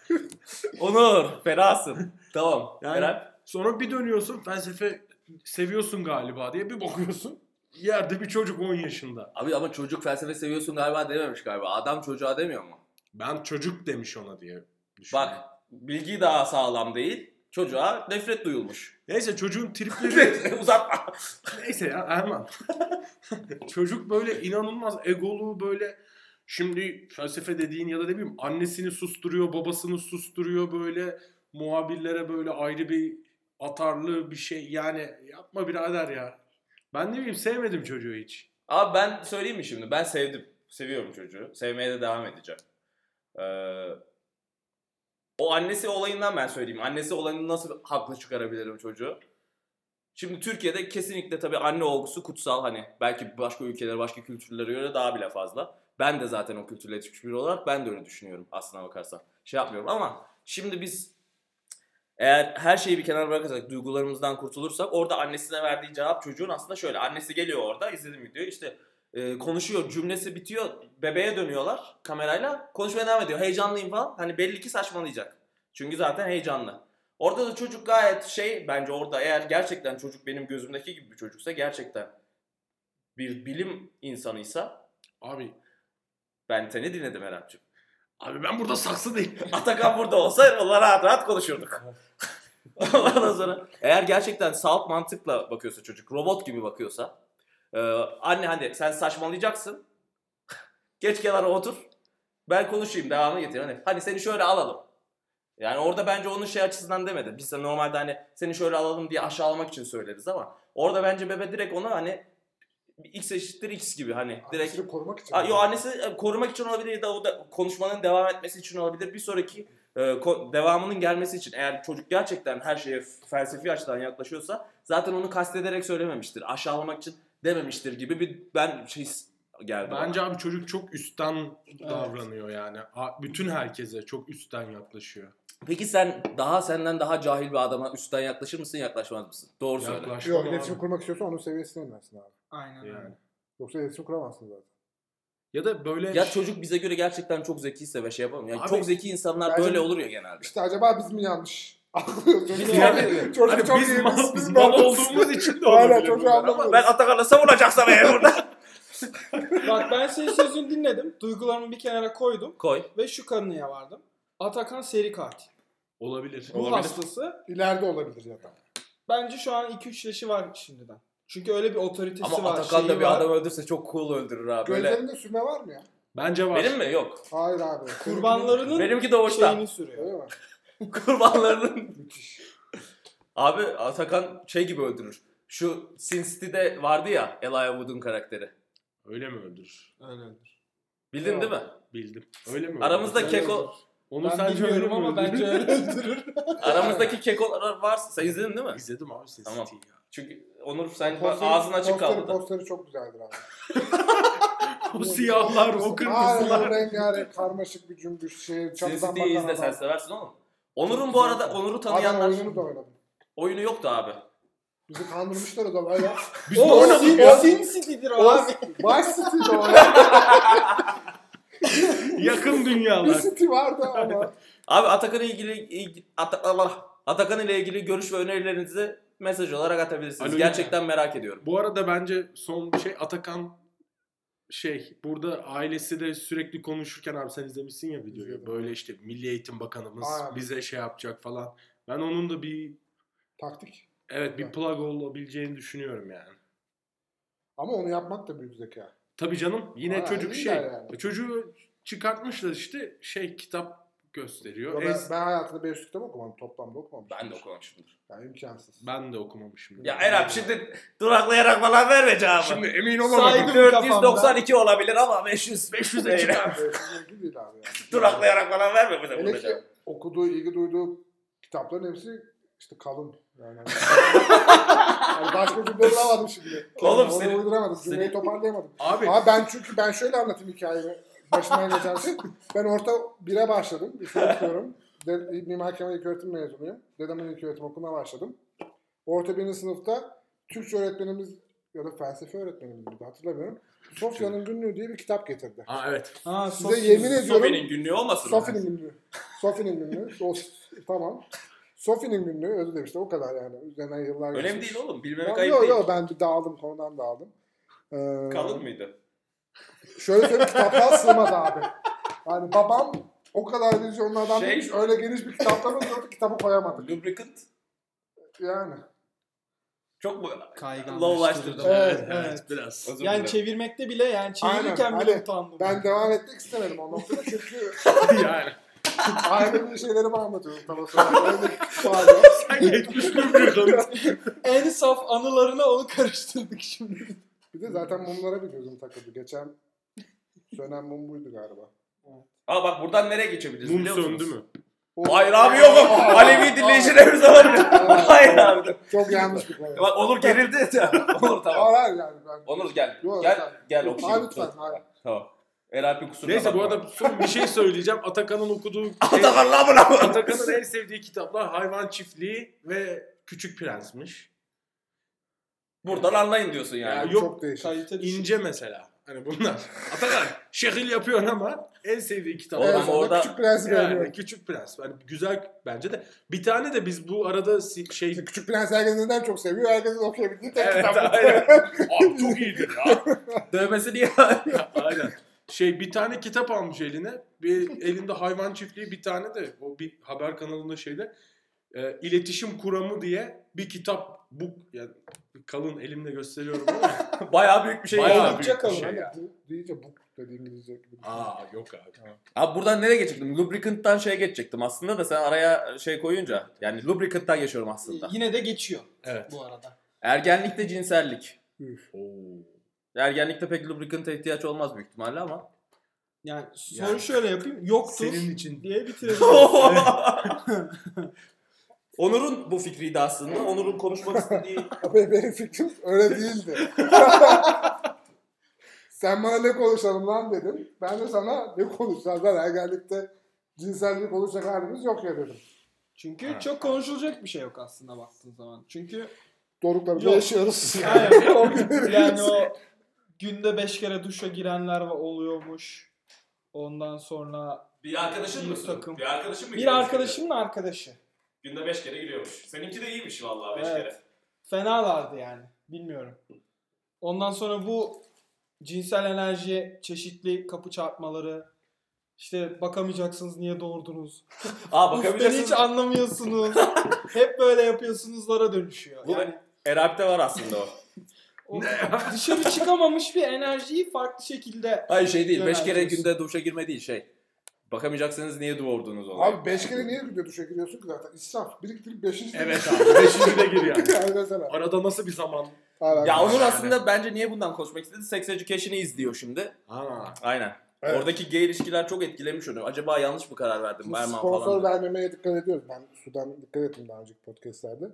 Onur. Fenasın. tamam.
Yani-
Erap.
*laughs* Sonra bir dönüyorsun felsefe seviyorsun galiba diye bir bakıyorsun. Yerde bir çocuk 10 yaşında.
Abi ama çocuk felsefe seviyorsun galiba dememiş galiba. Adam çocuğa demiyor mu?
Ben çocuk demiş ona diye. düşünüyorum.
Bak bilgi daha sağlam değil. Çocuğa nefret duyulmuş.
Neyse çocuğun tripleri
*laughs* Uzatma.
neyse ya Erman. *laughs* Çocuk böyle inanılmaz egolu böyle şimdi felsefe dediğin ya da ne bileyim annesini susturuyor babasını susturuyor böyle muhabirlere böyle ayrı bir atarlı bir şey yani yapma birader ya. Ben ne bileyim sevmedim çocuğu hiç.
Abi ben söyleyeyim mi şimdi? Ben sevdim. Seviyorum çocuğu. Sevmeye de devam edeceğim. Ee, o annesi olayından ben söyleyeyim. Annesi olayını nasıl haklı çıkarabilirim çocuğu? Şimdi Türkiye'de kesinlikle tabii anne olgusu kutsal hani belki başka ülkelere, başka kültürlere göre daha bile fazla. Ben de zaten o kültürle yetişmiş biri olarak ben de öyle düşünüyorum aslına bakarsan. Şey yapmıyorum ama şimdi biz eğer her şeyi bir kenara bırakırsak, duygularımızdan kurtulursak orada annesine verdiği cevap çocuğun aslında şöyle. Annesi geliyor orada, izledim videoyu işte e, konuşuyor, cümlesi bitiyor, bebeğe dönüyorlar kamerayla, konuşmaya devam ediyor. Heyecanlıyım falan. Hani belli ki saçmalayacak. Çünkü zaten heyecanlı. Orada da çocuk gayet şey bence orada eğer gerçekten çocuk benim gözümdeki gibi bir çocuksa gerçekten bir bilim insanıysa
Abi
ben seni dinledim Erhan'cığım.
abi ben burada saksı
*laughs*
değil.
Atakan burada olsa onunla rahat rahat konuşurduk. Ondan sonra eğer gerçekten salt mantıkla bakıyorsa çocuk, robot gibi bakıyorsa e, anne hani sen saçmalayacaksın. *laughs* Geç kenara otur. Ben konuşayım devamı getir. Hani, hani seni şöyle alalım. Yani orada bence onun şey açısından demedi. Biz de normalde hani seni şöyle alalım diye aşağılamak için söyleriz ama orada bence bebe direkt onu hani x eşittir x gibi hani direkt
Annesini korumak için.
Aa, yo annesi e, korumak için olabilir ya da o da konuşmanın devam etmesi için olabilir. Bir sonraki e, ko- devamının gelmesi için eğer çocuk gerçekten her şeye f- felsefi açıdan yaklaşıyorsa zaten onu kastederek söylememiştir. Aşağılamak için dememiştir gibi bir ben şey geldi. bana.
Bence abi çocuk çok üstten
Evet.
davranıyor yani. A- Bütün herkese çok üstten yaklaşıyor.
Peki sen daha senden daha cahil bir adama üstten yaklaşır mısın yaklaşmaz mısın? Doğru söyle.
Yaklaşma
Yok
abi.
iletişim kurmak istiyorsan onun seviyesine inersin abi.
Aynen öyle.
Yani.
Yoksa iletişim kuramazsın zaten.
Ya da böyle
Ya çocuk bize göre gerçekten çok zekiyse ve şey yapalım. Yani
Abi-
çok zeki insanlar
Bence-
böyle olur ya genelde.
İşte acaba biz mi yanlış? *laughs* Aklıyoruz. Çocuk
Yani-
çocuk
Hani
çok
biz
iyi,
mal- biz
biz- biz
mal
malız.
olduğumuz
*laughs*
için de
Hala
olabilir
çocuğu
bunlar ama
anlamıyorum.
Ben Atakan'la savunacaksam eğer burada.
Bak ben senin sözünü dinledim. Duygularımı bir kenara koydum
Koy.
ve şu kanıya vardım. Atakan seri katil.
Olabilir.
Bu
Olabilir.
hastası
İleride olabilir ya da.
bence şu an 2-3 yaşı var şimdiden. Çünkü öyle bir otoritesi
Ama
var.
Atakan da
şeyi
bir
var.
adam öldürse çok cool öldürür abi. Böyle.
Gözlerinde sürme var mı ya?
Bence var.
Benim mi? Yok.
Hayır abi.
kurbanlarının
Benimki de hoşta.
şeyini sürüyor.
Öyle
*laughs*
mi?
Kurbanlarının.
Müthiş.
Abi Atakan şey gibi öldürür. Şu Sin City'de vardı ya Elijah Wood'un karakteri.
Öyle mi öldürür?
Öyle öyle.
Bildin
Yok.
değil mi?
Bildim. Öyle mi?
Aramızda
öldürür?
keko,
Onu
Ben
sence öyle mi
bilmiyorum ama
öldürür?
bence öyle öldürür.
aramızdaki kekolar varsa sen izledin değil mi?
*laughs* İzledim abi Sin
Tamam.
City'yi ya.
Çünkü Onur sen
Posteri-
ağzın açık
posteri-
kaldı. da.
Posteri çok güzeldir abi.
O siyahlar, o
Aynen
kırmızılar.
rengarenk karmaşık bir cümbüş şey.
Sin
çaptan
City'yi izle
bakan
sen
adam.
seversin oğlum. Onur'un bu arada Onur'u
Adam
tanıyanlar
oyununu da oynadım.
oyunu yoktu abi.
Bizi kandırmışlar o zaman ya.
Biz
O
ne oynadık
Sin-
ya?
Sin City'dir o
O
abi.
*laughs*
Vice City'de oynadım.
Yakın
Bir
dünyalar.
City vardı ama.
Abi Atakan'la ilgili ilgi- Ata- Allah. Atakan ile ilgili görüş ve önerilerinizi mesaj olarak atabilirsiniz.
Alo,
Gerçekten merak ediyorum.
Bu arada bence son bir şey Atakan şey burada ailesi de sürekli konuşurken abi sen izlemişsin ya videoyu.
İzledim.
Böyle işte Milli Eğitim Bakanımız
Aynen.
bize şey yapacak falan. Ben onun da bir
Taktik.
evet bir plug olabileceğini düşünüyorum yani.
Ama onu yapmak da büyük zeka.
Tabii canım yine
Aynen,
çocuk şey
iyiler yani.
çocuğu çıkartmışlar işte şey kitap gösteriyor.
Ben,
Ben,
ben hayatımda 5 kitap okumadım. Toplamda okumamışım.
Ben de okumamışımdır.
Yani imkansız.
ben de okumamışım.
Ya Erap şimdi duraklayarak falan verme cevabı.
Şimdi emin
Saygı-
olamadım.
Saydım
492 olabilir ama 500
500'e
değil.
çıkar.
Mümkün değil abi
*laughs*
yani.
Duraklayarak falan verme bu
Hele ki
da.
okuduğu, ilgi duyduğu kitapların hepsi işte kalın.
*laughs*
Yani, yani başka cümle bulamadım şimdi.
Oğlum
Onu
senin-
uyduramadım. Cümleyi
senin-
toparlayamadım.
Abi
Abi ben çünkü ben şöyle anlatayım hikayemi. Başından geçen şey. Ben orta 1'e başladım. Üçe okuyorum. De, Mimar Kemal İlköğretim mezunuyum. Dedemin İlköğretim okuluna başladım. Orta 1. sınıfta Türkçe öğretmenimiz ya da felsefe öğretmenimiz miydi hatırlamıyorum. Sofya'nın Günlüğü diye bir kitap getirdi.
Ha evet.
Ha,
Size yemin ediyorum.
Sofi'nin günlüğü olmasın. mı?
Sofi'nin günlüğü. Sofi'nin günlüğü. Dost. Tamam. Sofi'nin günlüğü özür dilerim işte o kadar yani. Üzerinden yıllar
Önemli
geçmiş.
değil oğlum. Bilmemek
Yok
ayıp
yok
değil.
yo, ben bir dağıldım konudan dağıldım. Ee,
Kalın mıydı?
Şöyle söyleyeyim kitaplar sığmadı abi. Yani babam o kadar vizyonlardan
Şey-
şey... demiş öyle geniş bir kitaptan oldu kitabı koyamadık.
Lubricant
Yani.
çok mu?
Kaygan.
Lowlaştırdım.
Evet, *laughs*
biraz.
Özür
Yani
dilerim.
çevirmekte bile yani çevirirken
Aynen,
bile
hani
utandım.
Ben devam etmek istemedim o noktada çünkü
yani.
aile bir şeylerimi anlatıyorum tam o sırada. Öyle bir kütüphane.
Sen geçmiş mümkün.
En saf anılarına onu karıştırdık şimdi.
Bir de zaten mumlara bir gözüm takıldı. Geçen sönen mum buydu galiba.
Aa bak buradan nereye geçebiliriz
Mum
biliyor musunuz?
söndü mü?
O-
Hayır abi yok
*laughs*
yok.
Aa,
Alevi
aa.
dinleyicilerimiz
*laughs*
var. Hayır abi.
Çok yanlış bir konu.
Bak Onur
*laughs*
gerildi. Onur tamam.
Hayır hayır yani. Ben...
Onur gel.
Yok,
gel
sen-
gel
Yok,
okuyayım.
abi lütfen, hayır.
Tamam. Erap'in kusuruna
Neyse bu
bakma.
arada son bir şey söyleyeceğim. Atakan'ın okuduğu
*laughs* Atakan lan buna.
Atakan'ın en sevdiği kitaplar Hayvan Çiftliği ve Küçük Prens'miş.
Buradan anlayın diyorsun yani.
Ya yok.
Çok değişik.
Kalite düşük.
İnce mesela.
*laughs*
Hani bunlar. Atakan şekil yapıyor ama en sevdiği kitap.
Oğlum,
Evet,
Adam
ama
orada-
küçük prensi
Yani
beğeniyorum.
Küçük Prens. Hani güzel bence de. Bir tane de biz bu arada si- şey
Küçük prens herkes neden çok seviyor? Herkesin okuyabildiği tek
*laughs* Evet, *laughs*
kitap.
aynen. Abi çok iyidir ya.
Dövmesi niye? *laughs*
Aynen. Şey bir tane kitap almış eline. Bir elinde hayvan çiftliği bir tane de o bir haber kanalında şeyde e, iletişim kuramı diye bir kitap bu yani kalın elimle gösteriyorum ama
Bayağı büyük bir şey.
Bayağı
yani.
büyük.
Oldukça kalın.
şey ya.
Hani Bu deyince bu dedi İngilizce gibi.
*laughs* aa yok abi.
Abi buradan nereye geçecektim? Lubricant'tan şeye geçecektim aslında da sen araya şey koyunca. Yani lubricant'tan geçiyorum aslında.
Yine de geçiyor
Evet.
bu arada.
Ergenlikte cinsellik.
Oo.
Ergenlikte pek lubricant'a ihtiyaç olmaz büyük ihtimalle *laughs* ama.
Yani soru
Yani.
şöyle yapayım. Yoktur
Senin için *laughs*
diye bitirelim.
Onur'un bu fikriydi aslında. Onur'un konuşmak istediği
*laughs*
Ama benim fikrim öyle değildi. Sen bana ne konuşalım lan dedin. Ben de sana ne konuşacağız lan ergenlikte cinsellik konuşacak halimiz yok ya dedim.
Çünkü
Evet.
çok konuşulacak bir şey yok aslında baktığın zaman. Çünkü
Doruklarımızda
Yok.
yaşıyoruz.
Aynen. o gün- yani o günde 5 kere duşa girenler va- oluyormuş. Ondan sonra
Bir arkadaşın mı?
Bir takım.
Bir arkadaşın mı?
bir
giriyormuş?
arkadaşımın arkadaşı.
Günde 5 kere giriyormuş. Seninki de iyiymiş vallahi 5
Evet.
kere.
Fenalardı yani. Bilmiyorum. Ondan sonra bu cinsel enerjiye çeşitli kapı çarpmaları işte bakamayacaksınız niye doğurdunuz.
Aa
Uf beni
bakabilirsiniz. *laughs*
hiç anlamıyorsunuz. Hep böyle yapıyorsunuzlara dönüşüyor.
Bu
Yani
Erap'te var aslında o.
o dışarı çıkamamış bir enerjiyi farklı şekilde
Hayır şey değil. 5 kere
Yöneltiyorsun.
günde duşa girme değil şey. Bakamayacaksınız niye doğurdunuz olayı.
Abi 5 kere niye gidiyor duşa giriyorsun ki zaten? İsraf. Biriktirip 5.
Evet abi. Beşinci de gir yani.
*laughs* yani mesela.
Arada nasıl bir zaman?
Hala-
Ya Onur
Yani.
aslında bence niye bundan konuşmak istedi? Sex Education'ı izliyor şimdi.
Ha.
Aynen.
Evet.
Oradaki gay ilişkiler çok etkilemiş onu. Acaba yanlış mı karar verdim?
Şimdi
Berman
sponsor
falan.
vermemeye dikkat ediyoruz. Ben sudan dikkat ettim daha önceki podcastlerde.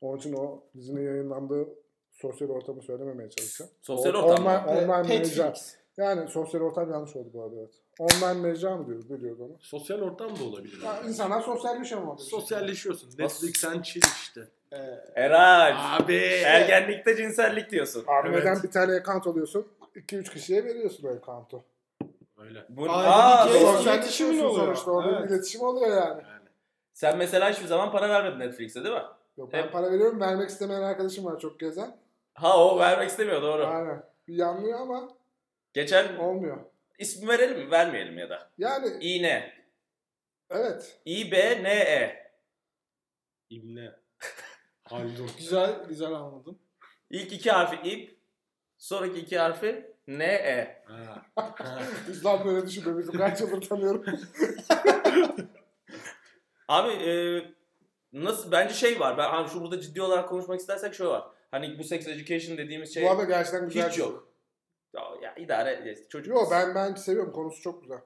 Onun için o dizinin yayınlandığı sosyal ortamı söylememeye çalışacağım.
Sosyal
O-
ortam
Online,
mı?
online mecra.
Netflix.
Yani sosyal ortam yanlış oldu bu arada evet. Online mecra mı diyoruz? Ne diyoruz onu?
Sosyal ortam da olabilir.
Ya insanlar sosyalleşiyor şey. mu?
Sosyalleşiyorsun. Netflix'ten chill işte.
Ee,
Eray.
Abi.
Ergenlikte cinsellik diyorsun.
Abi
Evet.
neden bir tane account alıyorsun? 2-3 kişiye veriyorsun o account'u.
Öyle.
Bu,
Ailedeki
Aa,
gay-
şey
doğru.
Sosyalleşiyorsun
iletişimin oluyor.
Sonuçta orada
Evet.
bir iletişim oluyor yani.
Yani.
Sen mesela hiçbir zaman para vermedin Netflix'e değil mi?
Yok ben
Hep-
para veriyorum. Vermek istemeyen arkadaşım var çok gezen.
Ha o vermek istemiyor doğru.
Aynen. Bir yanlıyor ama
Geçen
olmuyor.
ismi verelim mi vermeyelim ya da.
Yani
İğne.
evet.
İBNE.
İbne. Haldun.
Güzel güzel anladım.
İlk iki harfi İP. Sonraki iki harfi NE.
Ha.
Biz lan böyle düşünmemizi kaç yıldır tanıyorum.
Abi e, nasıl bence şey var. Ben hani şu burada ciddi olarak konuşmak istersek şöyle var. Hani bu sex education dediğimiz şey
Bu arada gerçekten güzel.
hiç
bir- şey.
yok. Ya, ya idare et, çocuk.
Yo ben ben seviyorum konusu çok güzel.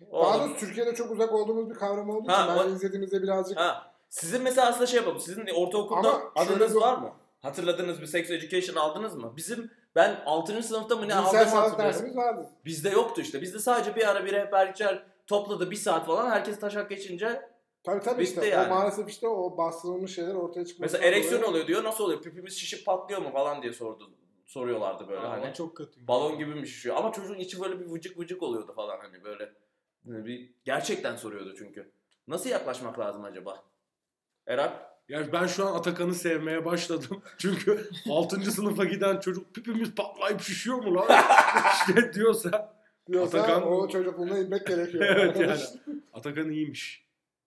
Daha
Oğlum,
doğrusu Türkiye'de çok uzak olduğumuz bir kavram olduğu için
Ha,
ben
o-
izlediğimizde birazcık
Ha. Sizin mesela aslında şey yapalım. Sizin ortaokulda
Ama şöyle
adınız
bir-
var mı? Hatırladığınız bir sex education aldınız mı? Bizim ben 6. sınıfta mı ne
cinsel
aldım
sağlık
hatırlıyorum.
dersimiz vardı.
Bizde yoktu işte. Bizde sadece bir ara bir rehberlikçiler topladı bir saat falan. Herkes taşak geçince
Tabii tabii
Bitti
işte.
yani.
O maalesef işte o bastırılmış şeyler ortaya çıkması.
mesela ereksiyon oluyor diyor. Nasıl oluyor? Pipimiz şişip patlıyor mu falan diye sordu. Soruyorlardı böyle
Ama
hani.
çok kötü.
Balon gibi mi şişiyor? Ama çocuğun içi böyle bir vıcık vıcık oluyordu falan hani böyle. Yani Bir gerçekten soruyordu çünkü. Nasıl yaklaşmak lazım acaba? Erap
Ya ben şu an Atakan'ı sevmeye başladım. *laughs* Çünkü 6. sınıfa giden çocuk pipimiz patlayıp şişiyor mu lan? *laughs* işte diyorsa.
Diyorsa
Atakan-
o çocukluğuna inmek gerekiyor.
*laughs* evet yani. Atakan iyiymiş.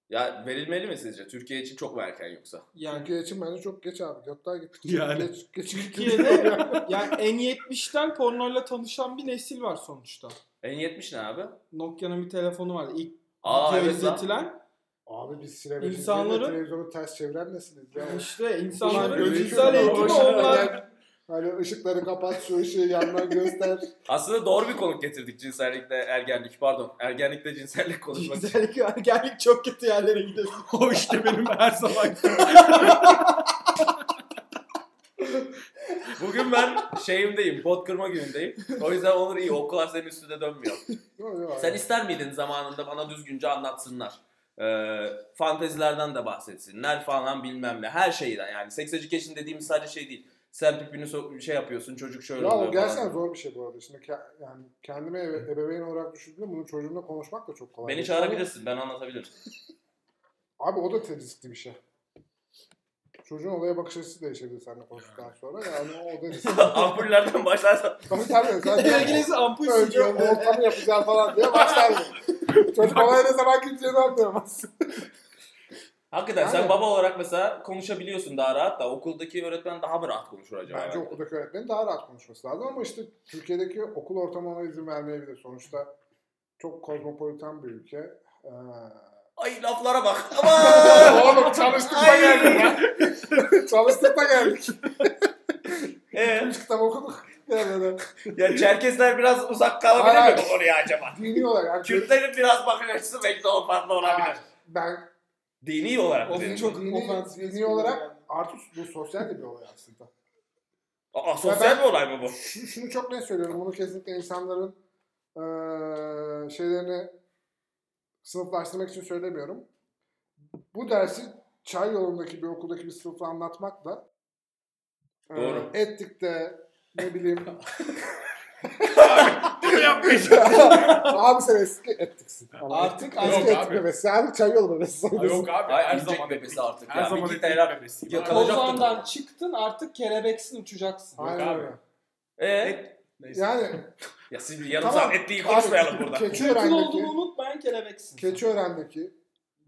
ya verilmeli mi sizce? Türkiye için çok mu erken yoksa?
Yani,
Türkiye için bence çok geç abi. Hatta gittik.
Yani.
Geç, geç,
Türkiye'de *laughs* yani N70'ten pornoyla tanışan bir nesil var sonuçta.
En 70 ne abi?
Nokia'nın bir telefonu vardı. İlk
Aa
video
evet lan.
izletilen.
Abi biz sinemeci
İnsanları-
televizyonu ters çeviren nesiliz ya.
işte
Ulan
insanların
gözüküyor
cinsel
ama
eğitimi
boşuna
onlar.
gel. Hani ışıkları kapat, şu ışığı yandan göster.
Aslında doğru bir konuk getirdik cinsellikle ergenlik. Pardon ergenlikle cinsellik konuşmak için.
Cinsellik ergenlik çok kötü yerlere gidiyor.
o işte benim her zaman.
Bugün ben şeyimdeyim, pot kırma günündeyim. O yüzden Onur iyi, okullar senin üstüne dönmüyor.
Yok, yok abi.
Sen ister miydin zamanında bana düzgünce anlatsınlar? Ee, fantezilerden de bahsetsinler falan bilmem ne. Her şeyden yani. Sex education dediğimiz sadece şey değil. Sen pipini so- şey yapıyorsun, çocuk şöyle
Ya o
oluyor
gerçekten
falan.
zor bir şey bu arada. Şimdi ke- yani kendime ebe- ebeveyn olarak düşündüğümde bunu çocuğumla konuşmak da çok kolay.
Beni
değil.
çağırabilirsin, ben anlatabilirim.
*laughs*
*laughs*
Abi o da te- riskli bir şey. Çocuğun olaya bakış açısı değişebilir seninle konuştuktan sonra. Yani o da riskli.
Ampullerden başlarsan *laughs*
tabii tabii.
Eve
Zaten
gelirse ampul
önce
sürüyor.
ortamı yapacağım falan diye başlar
*laughs*
bu. Çocuk olaya ne zaman gideceğini anlayamaz.
Hakikaten sen
Aynen.
baba olarak mesela konuşabiliyorsun daha rahat da okuldaki öğretmen daha mı rahat konuşur acaba?
Bence
Yani?
okuldaki öğretmenin daha rahat konuşması lazım ama işte Türkiye'deki okul ortamı ona izin vermeyebilir. Sonuçta çok kozmopolitan bir ülke. Ee...
*laughs* Ay laflara bak.
*laughs*
Aman!
Oğlum çalıştık da geldik lan. çalıştık da geldik.
Ee,
Üç kitap okuduk. *laughs* Yani böyle
ya Çerkezler biraz uzak kalabilir
Hayır.
mi bu konuya acaba?
dini olarak. Yani
Kürtlerin biraz bakış açısı belki de o farklı olabilir.
ben
Dini olarak.
Of,
mı dedin?
çok
dini,
ofansif.
dini olarak artık bu sosyal de bir olay aslında.
Aa, sosyal
ben-
bir olay mı bu?
Şu- şunu çok net söylüyorum. Bunu kesinlikle insanların eee, şeylerini sınıflaştırmak için söylemiyorum. Bu dersi çay yolundaki bir okuldaki bir sınıfla anlatmakla eee,
Doğru.
ettik de ne bileyim
*laughs* Bunu yapmış.
abi sen eski ettiksin. Ama
Artık
eski
yok
etik
abi.
bebesi. Artık çay yolu bebesi.
Yok abi
Ay,
her
yiyecek
zaman
bebesi
etnik-
artık
Her
ya.
zaman
Bir
etnik
tayrak
bebesiyim.
yakalayacaktır.
Kozan'dan çıktın artık kelebeksin uçacaksın.
Aynen
abi.
öyle.
Ee,
Neyse.
Yani
ya siz bir yarım
Tamam.
saat etliği konuşmayalım burada.
Yakın
Keçiören'deki
olduğunu
şey.
unut ben kelebeksin.
Keçiören'deki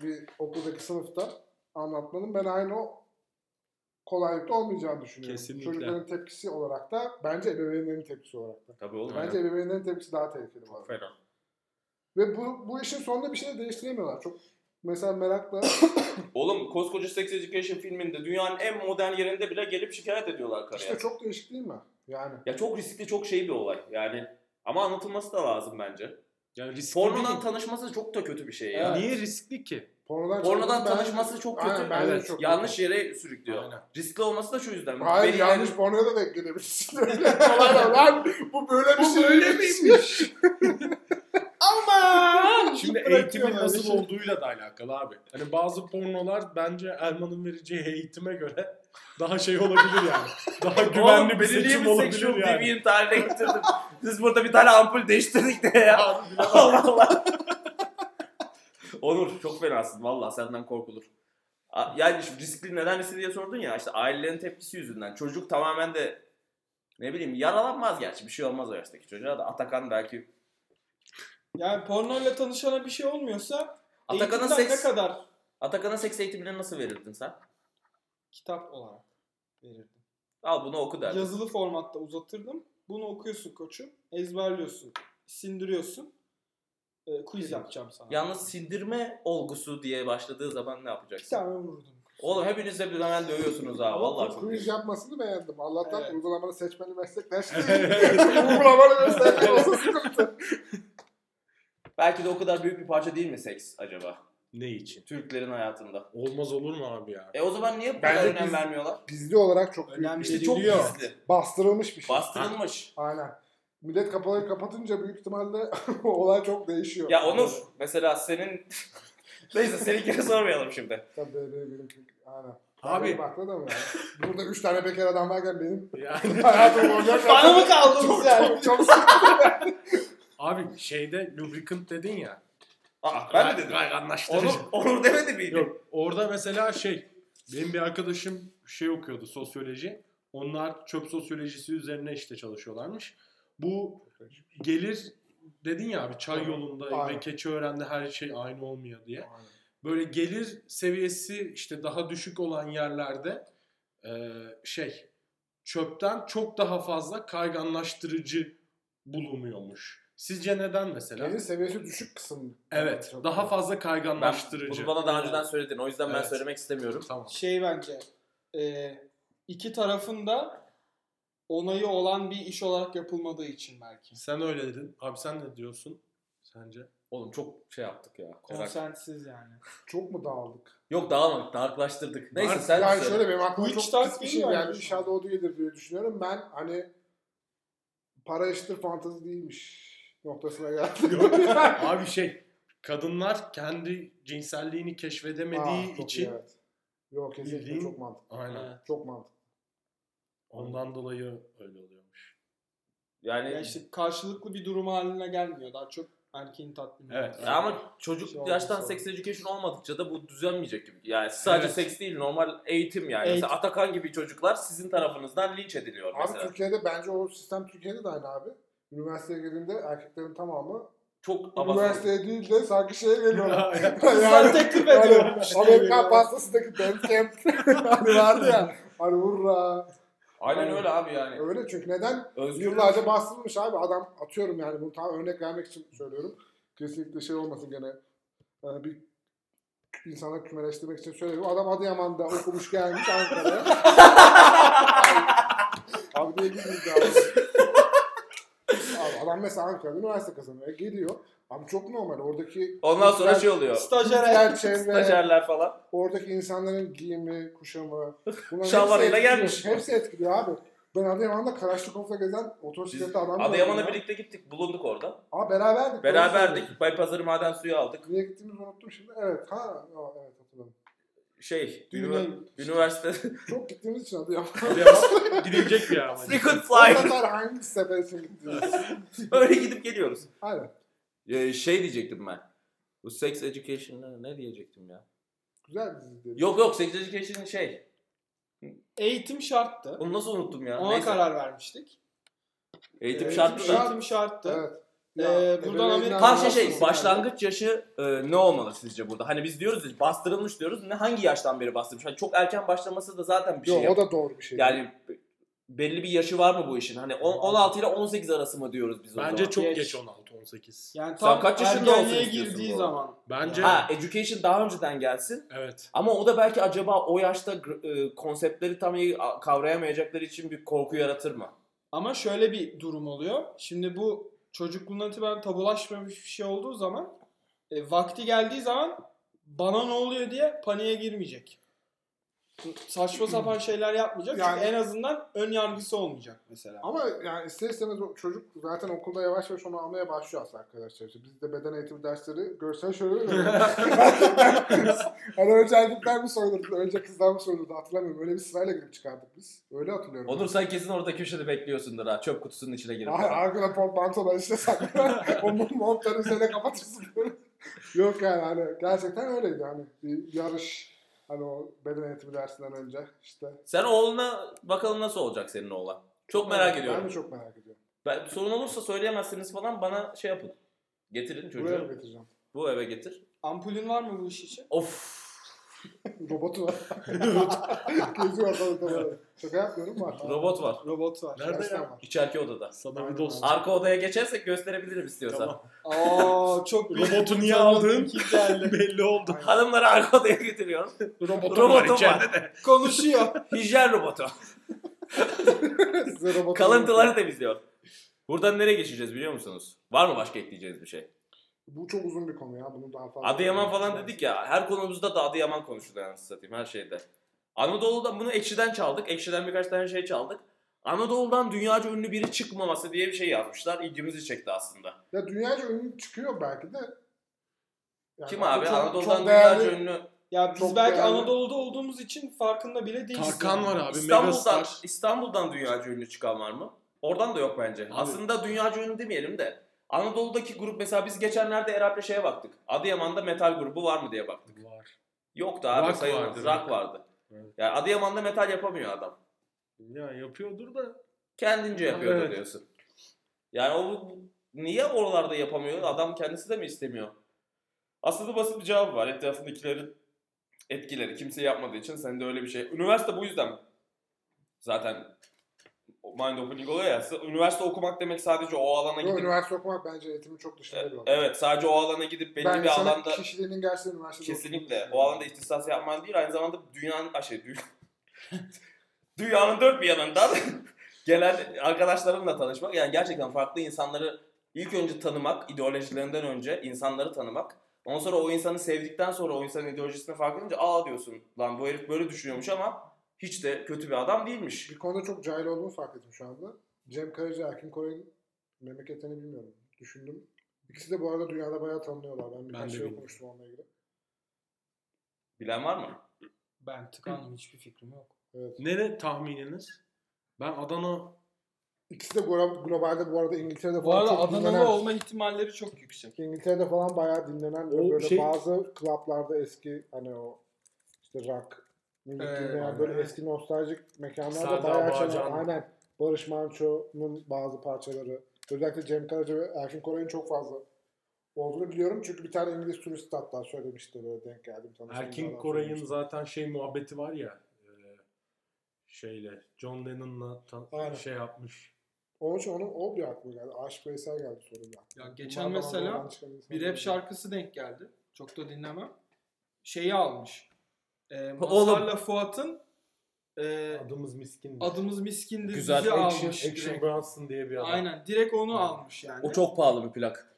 bir okuldaki sınıfta anlatmanın ben aynı o kolaylıkta olmayacağını düşünüyorum.
Kesinlikle.
Çocukların tepkisi olarak da bence ebeveynlerin tepkisi olarak da.
Tabii oğlum.
Bence ebeveynlerin tepkisi daha tehlikeli bu arada.
Fena.
Ve bu, bu işin sonunda bir şey de değiştiremiyorlar. Çok mesela merakla
Oğlum koskoca Sex Education filminde dünyanın en modern yerinde bile gelip şikayet ediyorlar karıya.
işte çok değişik değil mi? Yani
Ya çok riskli çok şey bir olay yani. Ama anlatılması da lazım bence.
Yani riskli
Pornodan
değil.
tanışması çok da kötü bir şey
Ya
ya.
Niye riskli ki?
pornodan,
Pornodan
çıkması ben-
tanışması çok kötü.
Aynen, bence de
Evet,
çok
yanlış yere sürüklüyor.
Aynen.
Riskli olması da şu yüzden.
Hayır
Beni-
yanlış pornoya da denk *laughs* gelebilirsin. Öyle kolayla lan bu böyle bir şey.
miymiş?
Ama
Şimdi eğitimin nasıl olduğuyla da alakalı abi. Hani bazı pornolar bence Erman'ın vereceği eğitime göre daha şey olabilir yani. Daha
Oğlum
güvenli bir
beni niye
seçim
bir sexual
olabilir yani.
deviant haline getirdin? Siz burada bir tane ampul değiştirdik de ya. Allah Allah. Onur çok fenasın valla senden korkulur. A- Yani şu riskli neden riskli diye sordun ya işte ailelerin tepkisi yüzünden. Çocuk tamamen de ne bileyim yaralanmaz gerçi bir şey olmaz o yaştaki çocuğa da Atakan belki
Yani pornoyla tanışana bir şey olmuyorsa
Atakan'a
eğitimden
seks
ne kadar
Atakan'a seks eğitimini nasıl verirdin sen?
kitap olarak verirdim.
Al bunu oku derdin.
Yazılı formatta uzatırdım. Bunu okuyorsun koçum. Ezberliyorsun. Sindiriyorsun. Ee, quiz yapacağım sana.
Yalnız sindirme olgusu diye başladığı zaman ne
Bir
yapacaksın?
tane vururdum.
Oğlum hepiniz de bir hemen dövüyorsunuz ha vallahi çok
Quiz yapmasını beğendim. Allah'tan
Evet.
uygulamalı seçmeli meslekler şey.
*laughs*
uygulamalı meslekler olsa sıkıntı.
Belki de o kadar büyük bir parça değil mi seks acaba?
Ne için?
Türklerin hayatında.
Olmaz olur mu abi ya?
E o zaman niye bu
Bence
kadar önem
biz-
vermiyorlar?
Gizli olarak çok büyük.
Önem
İşte çok
veriliyor.
gizli.
Bastırılmış bir şey.
Bastırılmış.
Aynen. Millet kapıları kapatınca büyük ihtimalle *laughs* olay çok değişiyor.
Ya Onur mesela senin... *laughs* Neyse seninkini sormayalım şimdi.
Tabii benim, benim, aynen.
Abi.
Benim akla da mı yani? Burada üç tane bekar adam varken benim *laughs*
Yani
hayatım olacak.
*laughs* Bana mı kaldınız
*laughs*
yani?
çok sıkıntı.
abi şeyde lubricant dedin ya.
Aa, ben mi dedim?
Hayır anlaştırıcı.
Onur, Onur demedi miydi?
Yok orada mesela şey benim bir arkadaşım şey okuyordu sosyoloji. Onlar çöp sosyolojisi üzerine işte çalışıyorlarmış. Bu gelir dedin ya abi çay yolunda
Aynen.
ve Keçiören'de her şey aynı olmuyor diye. Böyle gelir seviyesi işte daha düşük olan yerlerde e, şey çöpten çok daha fazla kayganlaştırıcı bulunuyormuş. Sizce neden mesela?
Gelir seviyesi düşük kısım.
Evet.
Çok-
daha fazla
Ben,
kayganlaştırıcı.
bunu bana daha önceden söyledin. O yüzden ben
Evet.
söylemek istemiyorum.
Tamam.
Şey bence e, iki tarafın da onayı olan bir iş olarak yapılmadığı için belki.
Sen öyle dedin. Abi sen ne diyorsun sence? *laughs*
Oğlum çok şey yaptık ya. merak-
Konsensiz yani.
Çok mu dağıldık?
Yok dağılmadık, darklaştırdık. Neyse
Dark-
sen
yani
söyle.
şöyle benim aklıma
Bu
çok
hiç tarz
pis bir
değil
şey
mi
geldi.
bence?
İnşallah o değildir diye düşünüyorum. Ben hani para eşittir fantezi değilmiş noktasına geldim.
Yok.
*laughs*
Abi şey kadınlar kendi cinselliğini keşfedemediği
Aa, Ah, çok
için
iyi, evet. Yok kesinlikle
Bildiğin-
çok mantıklı.
aynen.
Çok mantıklı.
Ondan dolayı öyle *laughs* oluyormuş.
Yani
Yani işte karşılıklı bir durum haline gelmiyor. Daha çok erkeğin tatmin
Evet.
Ya ama çocuk
Şey olmaz,
yaştan
şey
seks education olmadıkça da bu düzelmeyecek gibi. Yani sadece
Evet.
seks değil normal eğitim yani.
Eğitim.
Mesela Atakan gibi çocuklar sizin tarafınızdan linç ediliyor
Abi
mesela.
Türkiye'de bence o sistem Türkiye'de de aynı abi. Üniversiteye girdiğinde erkeklerin tamamı
Çok abartılı.
üniversiteye değil de sanki şeye geliyorlar.
Kızlar
*laughs*
teklif
yani
ediyor.
Amerikan pastasındaki bandcamp *laughs* hani vardı ya. Hani hurra.
Aynen öyle abi yani.
Öyle çünkü neden?
Özgür
Yıllarca bastırılmış abi. Adam atıyorum yani bunu tam örnek vermek için söylüyorum. Kesinlikle şey olmasın gene e, bir insanları kümeleştirmek için söylüyorum. Adam Adıyaman'da okumuş gelmiş Ankara'ya. abi niye gidiyoruz ya? Abi adam mesela Ankara'da üniversite kazanıyor. E, Geliyor. Abi çok normal. Oradaki
Ondan sonra
kültürel-
şey oluyor.
Stajyer
kültürel çevre,
Stajyerler falan.
Oradaki insanların giyimi, kuşamı. bunların
Şalvarıyla
hepsi etkiliyor.
gelmiş.
Hepsi etkiliyor abi. Ben Adıyaman'da Kalaşnikov'la gezen otosikletli adam gördüm
Adıyaman'a
ya.
birlikte gittik. Bulunduk orada.
Aa beraberdik.
Beraberdik. Baypazarı maden suyu aldık.
Niye gittiğimizi unuttum şimdi. Evet. Ha, o, evet hatırladım.
Şey,
Düğüne
ünivers- üniversite. *laughs*
Çok gittiğimiz için Adıyaman.
Adıyaman Gidilecek bir yer ama.
We could
O
fly.
sefer hangi sefer için gittiğimiz?
Öyle gidip geliyoruz.
Aynen.
Ee, şey diyecektim ben. Bu sex education ne diyecektim ya?
Güzel bir diziydi.
Yok yok sex education şey.
Eğitim şarttı.
Onu nasıl unuttum ya?
Ona
Neyse.
karar vermiştik.
Eğitim
Eğitim
şartı da.
şart.
Eğitim şarttı.
Evet.
Ee,
Ya,
buradan
ebeveynler
Amerika-
Ha şey
nasıl yani?
şey başlangıç yaşı e, ne olmalı sizce burada? Hani biz diyoruz ya bastırılmış diyoruz. Ne hangi yaştan beri bastırmış? Hani çok erken başlaması da zaten bir şey.
Yok o
yap-
da doğru bir şey.
Yani belli bir yaşı var mı bu işin? Hani on- 16 ile 18 arası mı diyoruz biz o
Bence
zaman?
çok geç,
Geç.
16-18.
Yani
Sen
tam
kaç yaşında
ergenliğe
olsun istiyorsun bu
girdiği
arada?
zaman.
Bence
Ha education daha önceden gelsin.
evet.
Ama o da belki acaba o yaşta gr- e, konseptleri tam iyi a- kavrayamayacakları için bir korku yaratır mı?
Ama şöyle bir durum oluyor. Şimdi bu çocukluğundan itibaren tabulaşmamış bir şey olduğu zaman e, vakti geldiği zaman bana ne oluyor diye paniğe girmeyecek. Saçma sapan şeyler yapmayacak.
Yani-
Çünkü en azından ön yargısı olmayacak mesela.
Ama yani ister istemez o çocuk zaten okulda yavaş yavaş onu almaya başlıyor aslında arkadaşlar. İşte biz de beden eğitimi dersleri görsel şöyle veriyoruz. hani önce erkekler mi soyulurdu, önce kızlar mı soyulurdu hatırlamıyorum. Öyle bir sırayla girip çıkardık biz. Öyle hatırlıyorum.
Onur sen kesin orada köşede bekliyorsundur ha. Çöp kutusunun içine girip.
Ay, arkada pol pantolon işte saklı. o mum- montları üzerine kapatırsın böyle. Yok yani hani gerçekten öyleydi. Hani bir yarış. Hani o beden eğitimi dersinden önce işte.
Sen oğluna bakalım nasıl olacak senin oğlan. Çok merak ediyorum.
Ben de çok merak ediyorum.
Ben, sorun olursa söyleyemezsiniz falan bana şey yapın. Getirin
Buraya mı
çocuğu.
getireceğim?
Bu eve getir.
Ampulün var mı bu iş için?
Of.
Robotu var. Geziyor ortalıkta böyle. Şaka yapmıyorum var.
Robot var.
Robot var.
Nerede
Gerçekten
ya?
var.
İçeriki odada.
Sana bir dost.
Arka odaya geçersek gösterebilirim istiyorsan.
Tamam.
Aa çok büyük *laughs*
Robotu niye
Tamam,
aldın?
iki geldi.
Belli oldu.
Hanımları arka odaya getiriyorum.
Robotum,
Robotum
var
var.
içeride de.
Konuşuyor.
Hijyen robotu.
Size
*laughs*
robotu
Kalıntıları temizliyor. Buradan nereye geçeceğiz biliyor musunuz? Var mı başka ekleyeceğiniz bir şey?
Bu çok uzun bir konu ya. Bunu daha fazla. şey
Adıyaman falan dedik ya. Her konumuzda da Adıyaman konuşuluyor anasını satayım her şeyde. Anadolu'dan bunu Ekşi'den çaldık. Ekşi'den birkaç tane şey çaldık. Anadolu'dan dünyaca ünlü biri çıkmaması diye bir şey yazmışlar. İlgimizi çekti aslında.
Ya dünyaca ünlü çıkıyor belki de. Yani
Kim abi?
çok-
Anadolu'dan
çok
dünyaca
değerli-
ünlü.
Ya biz
Çok
belki
değerli.
Anadolu'da olduğumuz için farkında bile değiliz.
Tarkan var abi.
İstanbul'dan,
Megastar.
İstanbul'dan dünyaca ünlü çıkan var mı? Oradan da yok bence. Aslında dünyaca ünlü demeyelim de. Anadolu'daki grup mesela biz geçenlerde Erap'le şeye baktık. Adıyaman'da metal grubu var mı diye baktık.
Var.
Yoktu abi
Rock
sayılmadı.
vardı.
Rock vardı.
Evet.
Yani Adıyaman'da metal yapamıyor adam.
Ya yapıyordur da.
Kendince yapıyor
Evet.
diyorsun. Yani o niye oralarda yapamıyor? Adam kendisi de mi istemiyor? Aslında basit bir cevap var. Etrafındakilerin etkileri. Kimse yapmadığı için sen de öyle bir şey. Üniversite bu yüzden zaten mind opening oluyor ya. Üniversite okumak demek sadece o alana
Yo,
gidip
üniversite okumak bence eğitimin çok dışında bir olay.
Evet sadece o alana gidip belli
ben
bir
insanın
alanda
kişiliğinin gerçekten üniversitede
Kesinlikle.
oturduğunu
O alanda ihtisas yapman değil aynı zamanda dünyanın ah şey dü- *laughs* dünyanın dört bir yanından *laughs* gelen arkadaşlarınla tanışmak. Yani gerçekten farklı insanları ilk önce tanımak, ideolojilerinden önce insanları tanımak. Ondan sonra o insanı sevdikten sonra o insanın ideolojisini fark edince aa diyorsun lan bu herif böyle düşünüyormuş ama hiç de kötü bir adam değilmiş.
Bir konuda çok cahil olduğumu fark ettim şu anda. Cem Karaca, Hakim Koray'ın memleketini bilmiyorum. Düşündüm. İkisi de bu arada dünyada bayağı tanınıyorlar. Ben birkaç
Ben de
şey
bilmiyorum.
okumuştum onunla ilgili.
Bilen var mı?
Ben tıkandım hiçbir fikrim yok.
Evet.
Nere tahmininiz? Ben Adana
İkisi de glo- globalde bu arada İngiltere'de
Bu
falan
arada
çok dinlenen.
Adanalı olma ihtimalleri çok yüksek.
İngiltere'de falan bayağı dinlenen ve
O
böyle
şey-
bazı klaplarda eski hani o işte rock müzik
Ee,
dinleyen böyle
evet.
eski nostaljik mekanlarda
Serdar
bayağı çalan
Bağcan.
aynen Barış Manço'nun bazı parçaları özellikle Cem Karaca ve Erkin Koray'ın çok fazla olduğunu biliyorum. Çünkü bir tane İngiliz turist hatta söylemişti böyle denk geldim. tanıştığım
Erkin
zaman
Koray'ın
söylemişti.
zaten şey muhabbeti var ya e, şeyle John Lennon'la ta-
Aynen.
şey yapmış.
Onun için onun o bir aklıma geldi. Aşk Veysel geldi soruyla.
Ya geçen mesela bir rap şarkısı denk geldi. Çok da dinlemem. Şeyi almış. Ee,
Oğlum.
Mazhar'la Fuat'ın e,
Adımız Miskin. diye.
Adımız Miskin'dir
Güzel
bizi
action,
almış.
Action
direkt.
Bronson diye bir adam.
Aynen direkt onu almış yani.
O çok pahalı bir plak.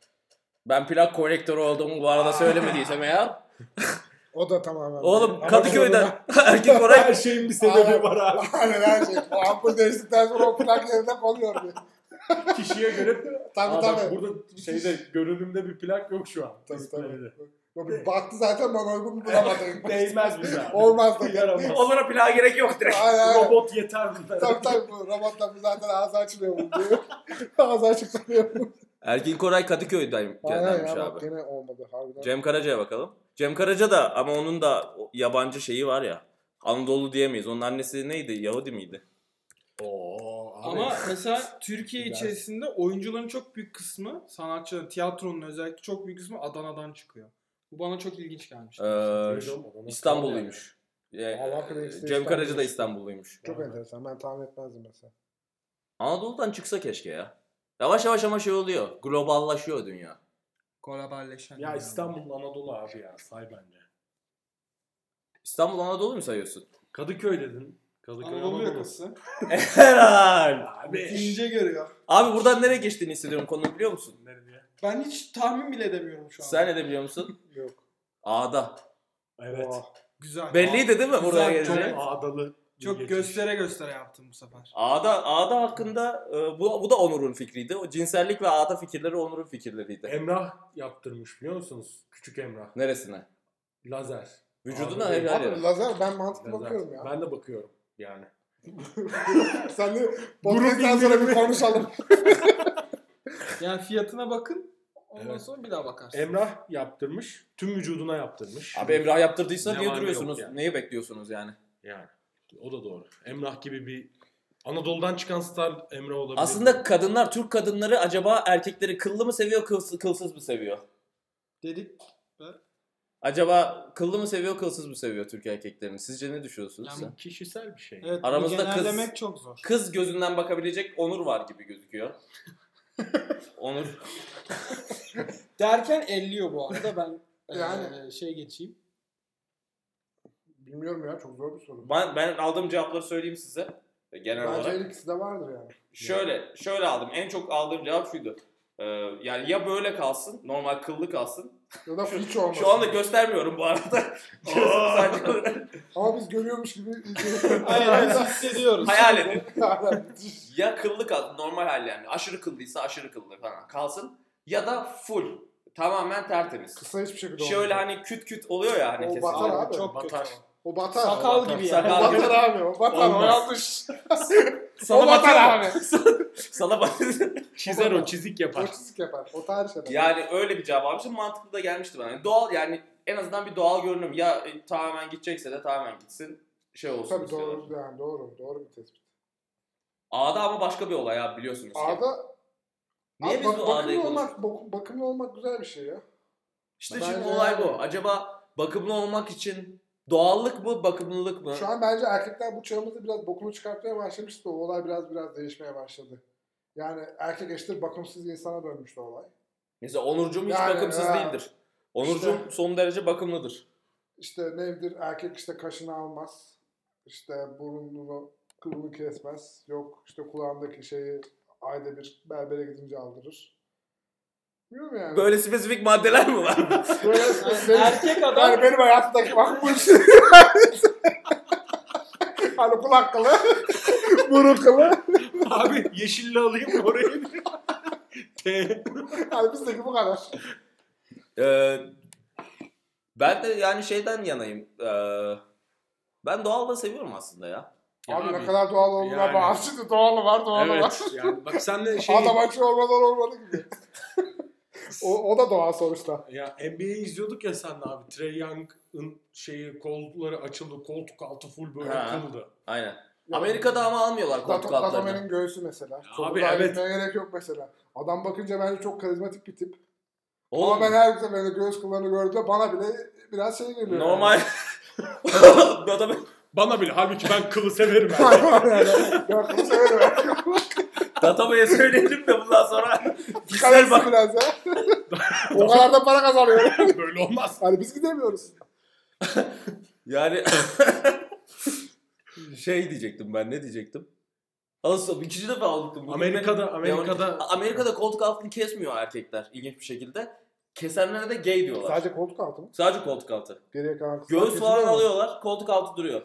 Ben plak kolektörü olduğumu bu arada söylemediysem eğer
O da tamamen.
Oğlum
Ama
Kadıköy'den *laughs* erkek olarak
Her şeyin bir sebebi var abi.
sonra- Aynen her şey. O ampul değiştikten sonra o plak yerine konuyor. diye.
*laughs* Kişiye göre.
*laughs* Tabii
Aa, bak,
tabii.
burada şeyde görünümde bir plak yok şu an.
Tabii tabii.
Display'de.
O bir Baktı zaten bana
*laughs*
uygun bulamadı.
Değmez
*laughs*
bize. abi.
Olmaz da
Yaramaz.
*laughs* onlara plağa gerek yok direkt.
Aynen aynen.
Robot yeter bunlara.
Tabii tabii bu robotlar bu zaten ağzı açmıyor bunu diyor. *laughs* ağzı açık duruyor.
Ergin Koray Kadıköy'deyim
Aynen
göndermiş
ya bak
şey abi.
gene olmadı harbiden.
Cem Karaca'ya bakalım. Cem Karaca da ama onun da o yabancı şeyi var ya. Anadolu diyemeyiz. Onun annesi neydi? Yahudi miydi?
Oo, abi.
Ama mesela Türkiye
Biraz.
içerisinde oyuncuların çok büyük kısmı, sanatçıların, tiyatronun özellikle çok büyük kısmı Adana'dan çıkıyor. Bu bana çok ilginç gelmiş.
Ee,
Öyle
şu-
olmadı. Nasıl
İstanbulluymuş. Ee,
Allah bilir işte
Cem Karaca da
İstanbul'muş.
İstanbulluymuş.
Çok
Yani.
enteresan. Ben tahmin etmezdim mesela.
Anadolu'dan çıksa keşke ya. Yavaş yavaş ama şey oluyor. Globallaşıyor dünya.
Globalleşen.
Ya İstanbul'un Anadolu abi ya say bence.
İstanbul Anadolu mu sayıyorsun?
Kadıköy dedin. Kadıköy
Anadolu yakası.
Herhal.
Abi.
İnce görüyor.
Abi buradan nereye geçtiğini hissediyorum konuyu biliyor musun?
Nerede?
Ben hiç tahmin bile edemiyorum şu an.
Sen ne de biliyor musun?
Yok.
A'da.
Evet.
Oha.
Güzel.
Belliydi değil mi buraya
Çok
geleceği?
ağdalı. bir
Çok
geçiş.
göstere göstere yaptım bu sefer.
Ağda, Ağda hakkında e, bu, bu da Onur'un fikriydi. O cinsellik ve Ağda fikirleri Onur'un fikirleriydi.
Emrah yaptırmış biliyor musunuz? Küçük Emrah.
Neresine?
Lazer.
Vücuduna
Ağda değil.
helal
Abi
ya.
lazer ben mantıklı
Lazer.
bakıyorum ya.
Ben de bakıyorum yani.
Sen de podcast'tan sonra bir konuşalım.
Yani fiyatına bakın. Ondan
Evet.
sonra bir daha bakarsın.
Emrah yaptırmış. Tüm vücuduna yaptırmış.
Abi Emrah yaptırdıysa niye
Zamanı
duruyorsunuz?
yok yani.
Neyi bekliyorsunuz yani?
Yani. O da doğru. Emrah gibi bir Anadolu'dan çıkan star Emrah olabilir.
Aslında kadınlar, Türk kadınları acaba erkekleri kıllı mı seviyor, kılsız, kılsız mı seviyor?
Dedik.
Acaba kıllı mı seviyor, kılsız mı seviyor Türk erkeklerini? Sizce ne düşünüyorsunuz?
yani
siz?
bu kişisel bir şey.
Evet,
Aramızda
Aramızda
kız-
genellemek çok zor.
Kız gözünden bakabilecek Onur var gibi gözüküyor. Onur.
Derken elliyor bu arada *laughs* ben
Yani.
yani. şey geçeyim.
Bilmiyorum ya çok zor bir soru.
Ben, ben aldığım cevapları söyleyeyim size. Genel
Bence
olarak.
her ikisi de vardır yani.
Şöyle, şöyle aldım. En çok aldığım cevap şuydu. Ee, yani ya böyle kalsın, normal kıllı kalsın.
Ya da hiç olmaz.
Şu anda göstermiyorum bu
*laughs*
arada. *laughs* Sadece-
Ama biz görüyormuş gibi
Hayır biz hissediyoruz.
Hayal edin.
Aynen.
Ya kıllı kalsın, normal hal yani. Aşırı kıllıysa aşırı kıllı falan kalsın. Ya da full, tamamen tertemiz.
Kısa hiçbir şekilde olmaz.
Şöyle hani küt küt oluyor ya hani
O
kesinlikle.
batar abi.
Çok kötü.
Batar.
O batar.
Sakal gibi yani.
Sakal gibi.
batar abi. O batar. O
Olmaz. *laughs*
yanlış.
Sana
o batar
batıyor.
abi.
*laughs* Sana batıyor.
Çizer o çizik
O *laughs*
yapar.
çizik yapar. O tarih eder.
Yani öyle bir cevap almışım mantıklı da gelmişti bana. Yani doğal yani en azından bir doğal görünüm. Ya e, tamamen gidecekse de tamamen gitsin. Şey olsun
Tabii
istiyorlar.
doğru, yani doğru, doğru bir tespit.
Ağda ama başka bir olay abi biliyorsunuz. ki.
Ağda
Niye
Abi
biz
bak-
bu ağdayı
bakımlı
konuşuyoruz?
olmak, bak- bakımlı olmak güzel bir şey ya.
İşte şimdi
Bence-
olay bu. Acaba bakımlı olmak için doğallık mı bakımlılık mı?
Şu an bence erkekler bu çağımızda biraz bokunu çıkartmaya başlamıştı. O olay biraz biraz değişmeye başladı. Yani erkek eşittir bakımsız insana dönmüştü olay.
Mesela Onurcuğum hiç
Yani,
bakımsız
ha.
değildir. Onurcuğum
İşte.
son derece bakımlıdır.
İşte nedir? Erkek işte kaşını almaz. İşte burnunu, kılını kesmez. Yok işte kulağındaki şeyi ayda bir berbere gidince aldırır. Bilmiyorum yani.
Böyle spesifik maddeler mi var? *laughs*
Böyle- benim,
Erkek adam
yani benim *laughs* hayatımdaki bak bu işte. hani kulak kılı, burun kılı.
Abi yeşille alayım orayı. *laughs* T.
Hani bizdeki bu kadar.
Ee, ben de yani şeyden yanayım. Ee, ben doğal da seviyorum aslında ya.
Ya
Abi,
abi,
ne kadar doğal olduğuna
yani.
bağlı. Şimdi şey doğalı var doğalı var.
Evet. Yani bak sen de şey...
Adam açı olmadan olmadı
*laughs*
gibi. o, o da doğal sonuçta.
Ya NBA'yi izliyorduk ya sen de abi. Trey Young'ın şeyi kolları açıldı. Koltuk altı full böyle
Ha.
kıldı.
Aynen. Amerika'da ama almıyorlar koltuk altlarını.
Datome'nin göğsü mesela. Çok
Abi
abi
evet.
gerek yok mesela. Adam bakınca bence çok karizmatik bir tip.
Oğlum,
Ama ben her seferinde göğüs kıllarını gördüğümde bana bile biraz şey geliyor. *laughs*
normal. *laughs* Adam
Bana bile. Halbuki ben kılı severim.
Yani.
abi.
Yok
*laughs*
bunu severim.
Datamay'a söyleyelim de bundan
*laughs*
sonra
Kalırsın
kişisel bak.
biraz ya.
*laughs*
o kadar da para
*laughs*
kazanıyorum.
böyle olmaz.
Hani biz gidemiyoruz.
Yani *laughs* şey diyecektim ben ne diyecektim? Anasıl ikinci defa unuttum. Bugün
Amerika'da
benim-
Amerika'da
Amerika'da koltuk altını kesmiyor erkekler ilginç bir şekilde. Kesenlere de gay diyorlar. Sadece,
Sadece koltuk altı mı?
koltuk altı.
Geriye kalan kısmı
Göğüs
kesiliyor
falan
mu?
alıyorlar. Koltuk altı duruyor.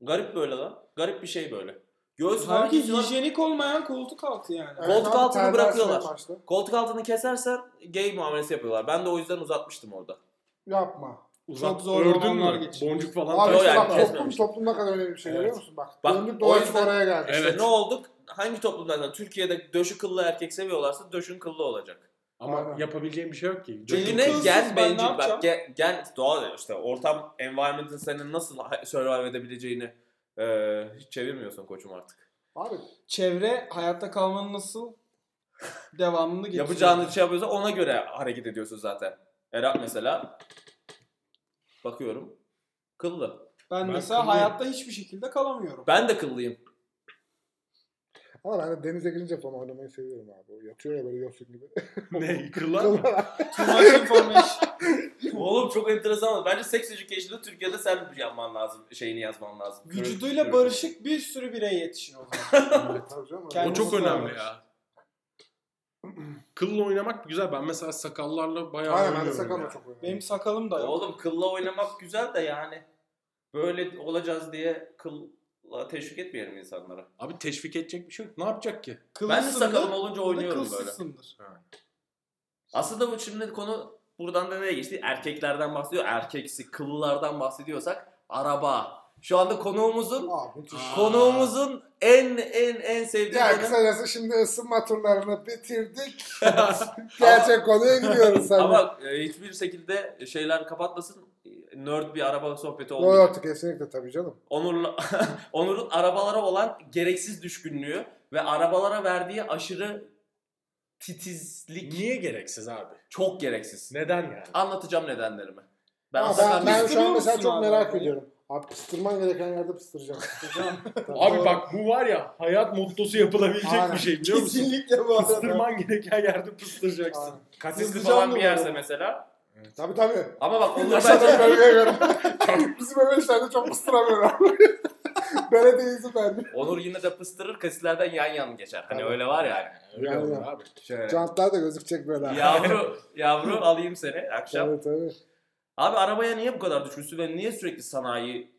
Garip böyle lan. Garip bir şey böyle. Göğüs falan
Sanki
kesiyorlar.
hijyenik olmayan koltuk altı yani.
Evet, şey
Koltuk
abi,
altını
terlersin
bırakıyorlar.
başta.
Koltuk altını kesersen gay muamelesi yapıyorlar. Ben de o yüzden uzatmıştım orada.
Yapma.
Uzat,
Çok zor
ördün
zamanlar
mü?
geçiriyor.
Boncuk falan
Abi
Yok
işte
yani
bak toplum,
kesmemiş.
toplum ne kadar önemli bir şey
Evet.
görüyor musun? Bak,
Bak,
döndük
o
dolaştık
yüzden-
oraya geldik.
Evet.
Ne olduk? Hangi toplumlardan? Türkiye'de döşü kıllı erkek seviyorlarsa döşün kıllı olacak.
Ama
Aynen.
yapabileceğim bir şey yok ki.
Döşün
Eline
kılsız ben
gen
ne
bencil.
yapacağım?
Bak gen, gen doğal işte ortam environment'ın senin nasıl ha- survive edebileceğini e, hiç çevirmiyorsun koçum artık.
Abi
Çevre hayatta kalmanın nasıl devamını getiriyor.
Yapacağını şey yapıyorsa ona göre hareket ediyorsun zaten. Erap mesela bakıyorum kıllı.
Ben,
Ben
mesela
kılıyım.
hayatta hiçbir şekilde kalamıyorum.
Ben de
*laughs*
kıllıyım.
ama ben de denize girince falan oynamayı seviyorum abi. O Yatıyor ya böyle yosun gibi. *laughs*
ne? Kırlar mı?
Too much information.
Oğlum çok enteresan. Bence sex education'ı Türkiye'de sen yapman lazım. Şeyini yazman lazım.
Vücuduyla
barış.
barışık bir sürü birey yetişiyor. o
*laughs*
zaman.
Tabii canım,
Kendi-
O çok
Kendisi
önemli
varmış.
ya. Kılla oynamak güzel. Ben mesela sakallarla bayağı
Aynen ben de
oynuyorum
sakalla
ya.
çok oynuyorum.
Benim sakalım da yok.
Oğlum kılla oynamak güzel de yani böyle olacağız diye kılla teşvik etmeyelim insanlara.
Abi teşvik edecek bir şey yok. Ne yapacak ki?
Ben de
Kılsızsındır,
sakalım olunca
sen de
oynuyorum böyle.
kılsızsındır.
Aslında bu şimdi konu buradan da nereye geçti? Erkeklerden bahsediyor. Erkeksi kıllılardan bahsediyorsak araba. Şu anda konuğumuzun
Abi müthiş.
Aa.
konuğumuzun en en en sevdiği
Ya
yanı-
kısacası şimdi ısınma turlarını bitirdik.
*laughs*
Gerçek
*laughs*
konuya gidiyoruz sen.
ama e, hiçbir şekilde şeyler kapatmasın. Nerd bir araba sohbeti
Yok
olmayacak.
yok kesinlikle tabii canım.
Onur'la *laughs* Onur'un arabalara olan gereksiz düşkünlüğü ve arabalara verdiği aşırı titizlik
Niye gereksiz abi?
çok gereksiz.
Neden yani?
Anlatacağım nedenlerimi. Ben
Ama
aslında
ben, ben şu an
Kıstırıyor
mesela
musun
çok
abi
merak
arabayı?
ediyorum. Abi kıstırman gereken yerde kıstıracağım. *laughs*
Abi bak bu var ya hayat mottosu yapılabilecek
Aynen.
bir şey biliyor musun?
Kesinlikle bu arada.
Pıstırman gereken yerde pıstıracaksın.
Aynen.
kasiski
Kızdıracağım
falan
mı
bir yerse
bunu?
mesela.
tabii tabii.
Ama bak Onur
Yaşadığım
bence
bölgeye göre. *laughs* Bizim öyle işlerde çok kıstıramıyorum abi. *laughs* Belediye izin verdi.
*laughs* Onur yine de pıstırır kasilerden yan yan geçer. Hani
Tabii.
öyle var ya. Hani.
Öyle
Yani-
olur abi.
Şöyle.
Jantlar da gözükecek böyle.
Yavru,
*laughs*
yavru alayım seni akşam.
Tabii tabii.
Abi arabaya niye bu kadar düşkünsün ve niye sürekli sanayi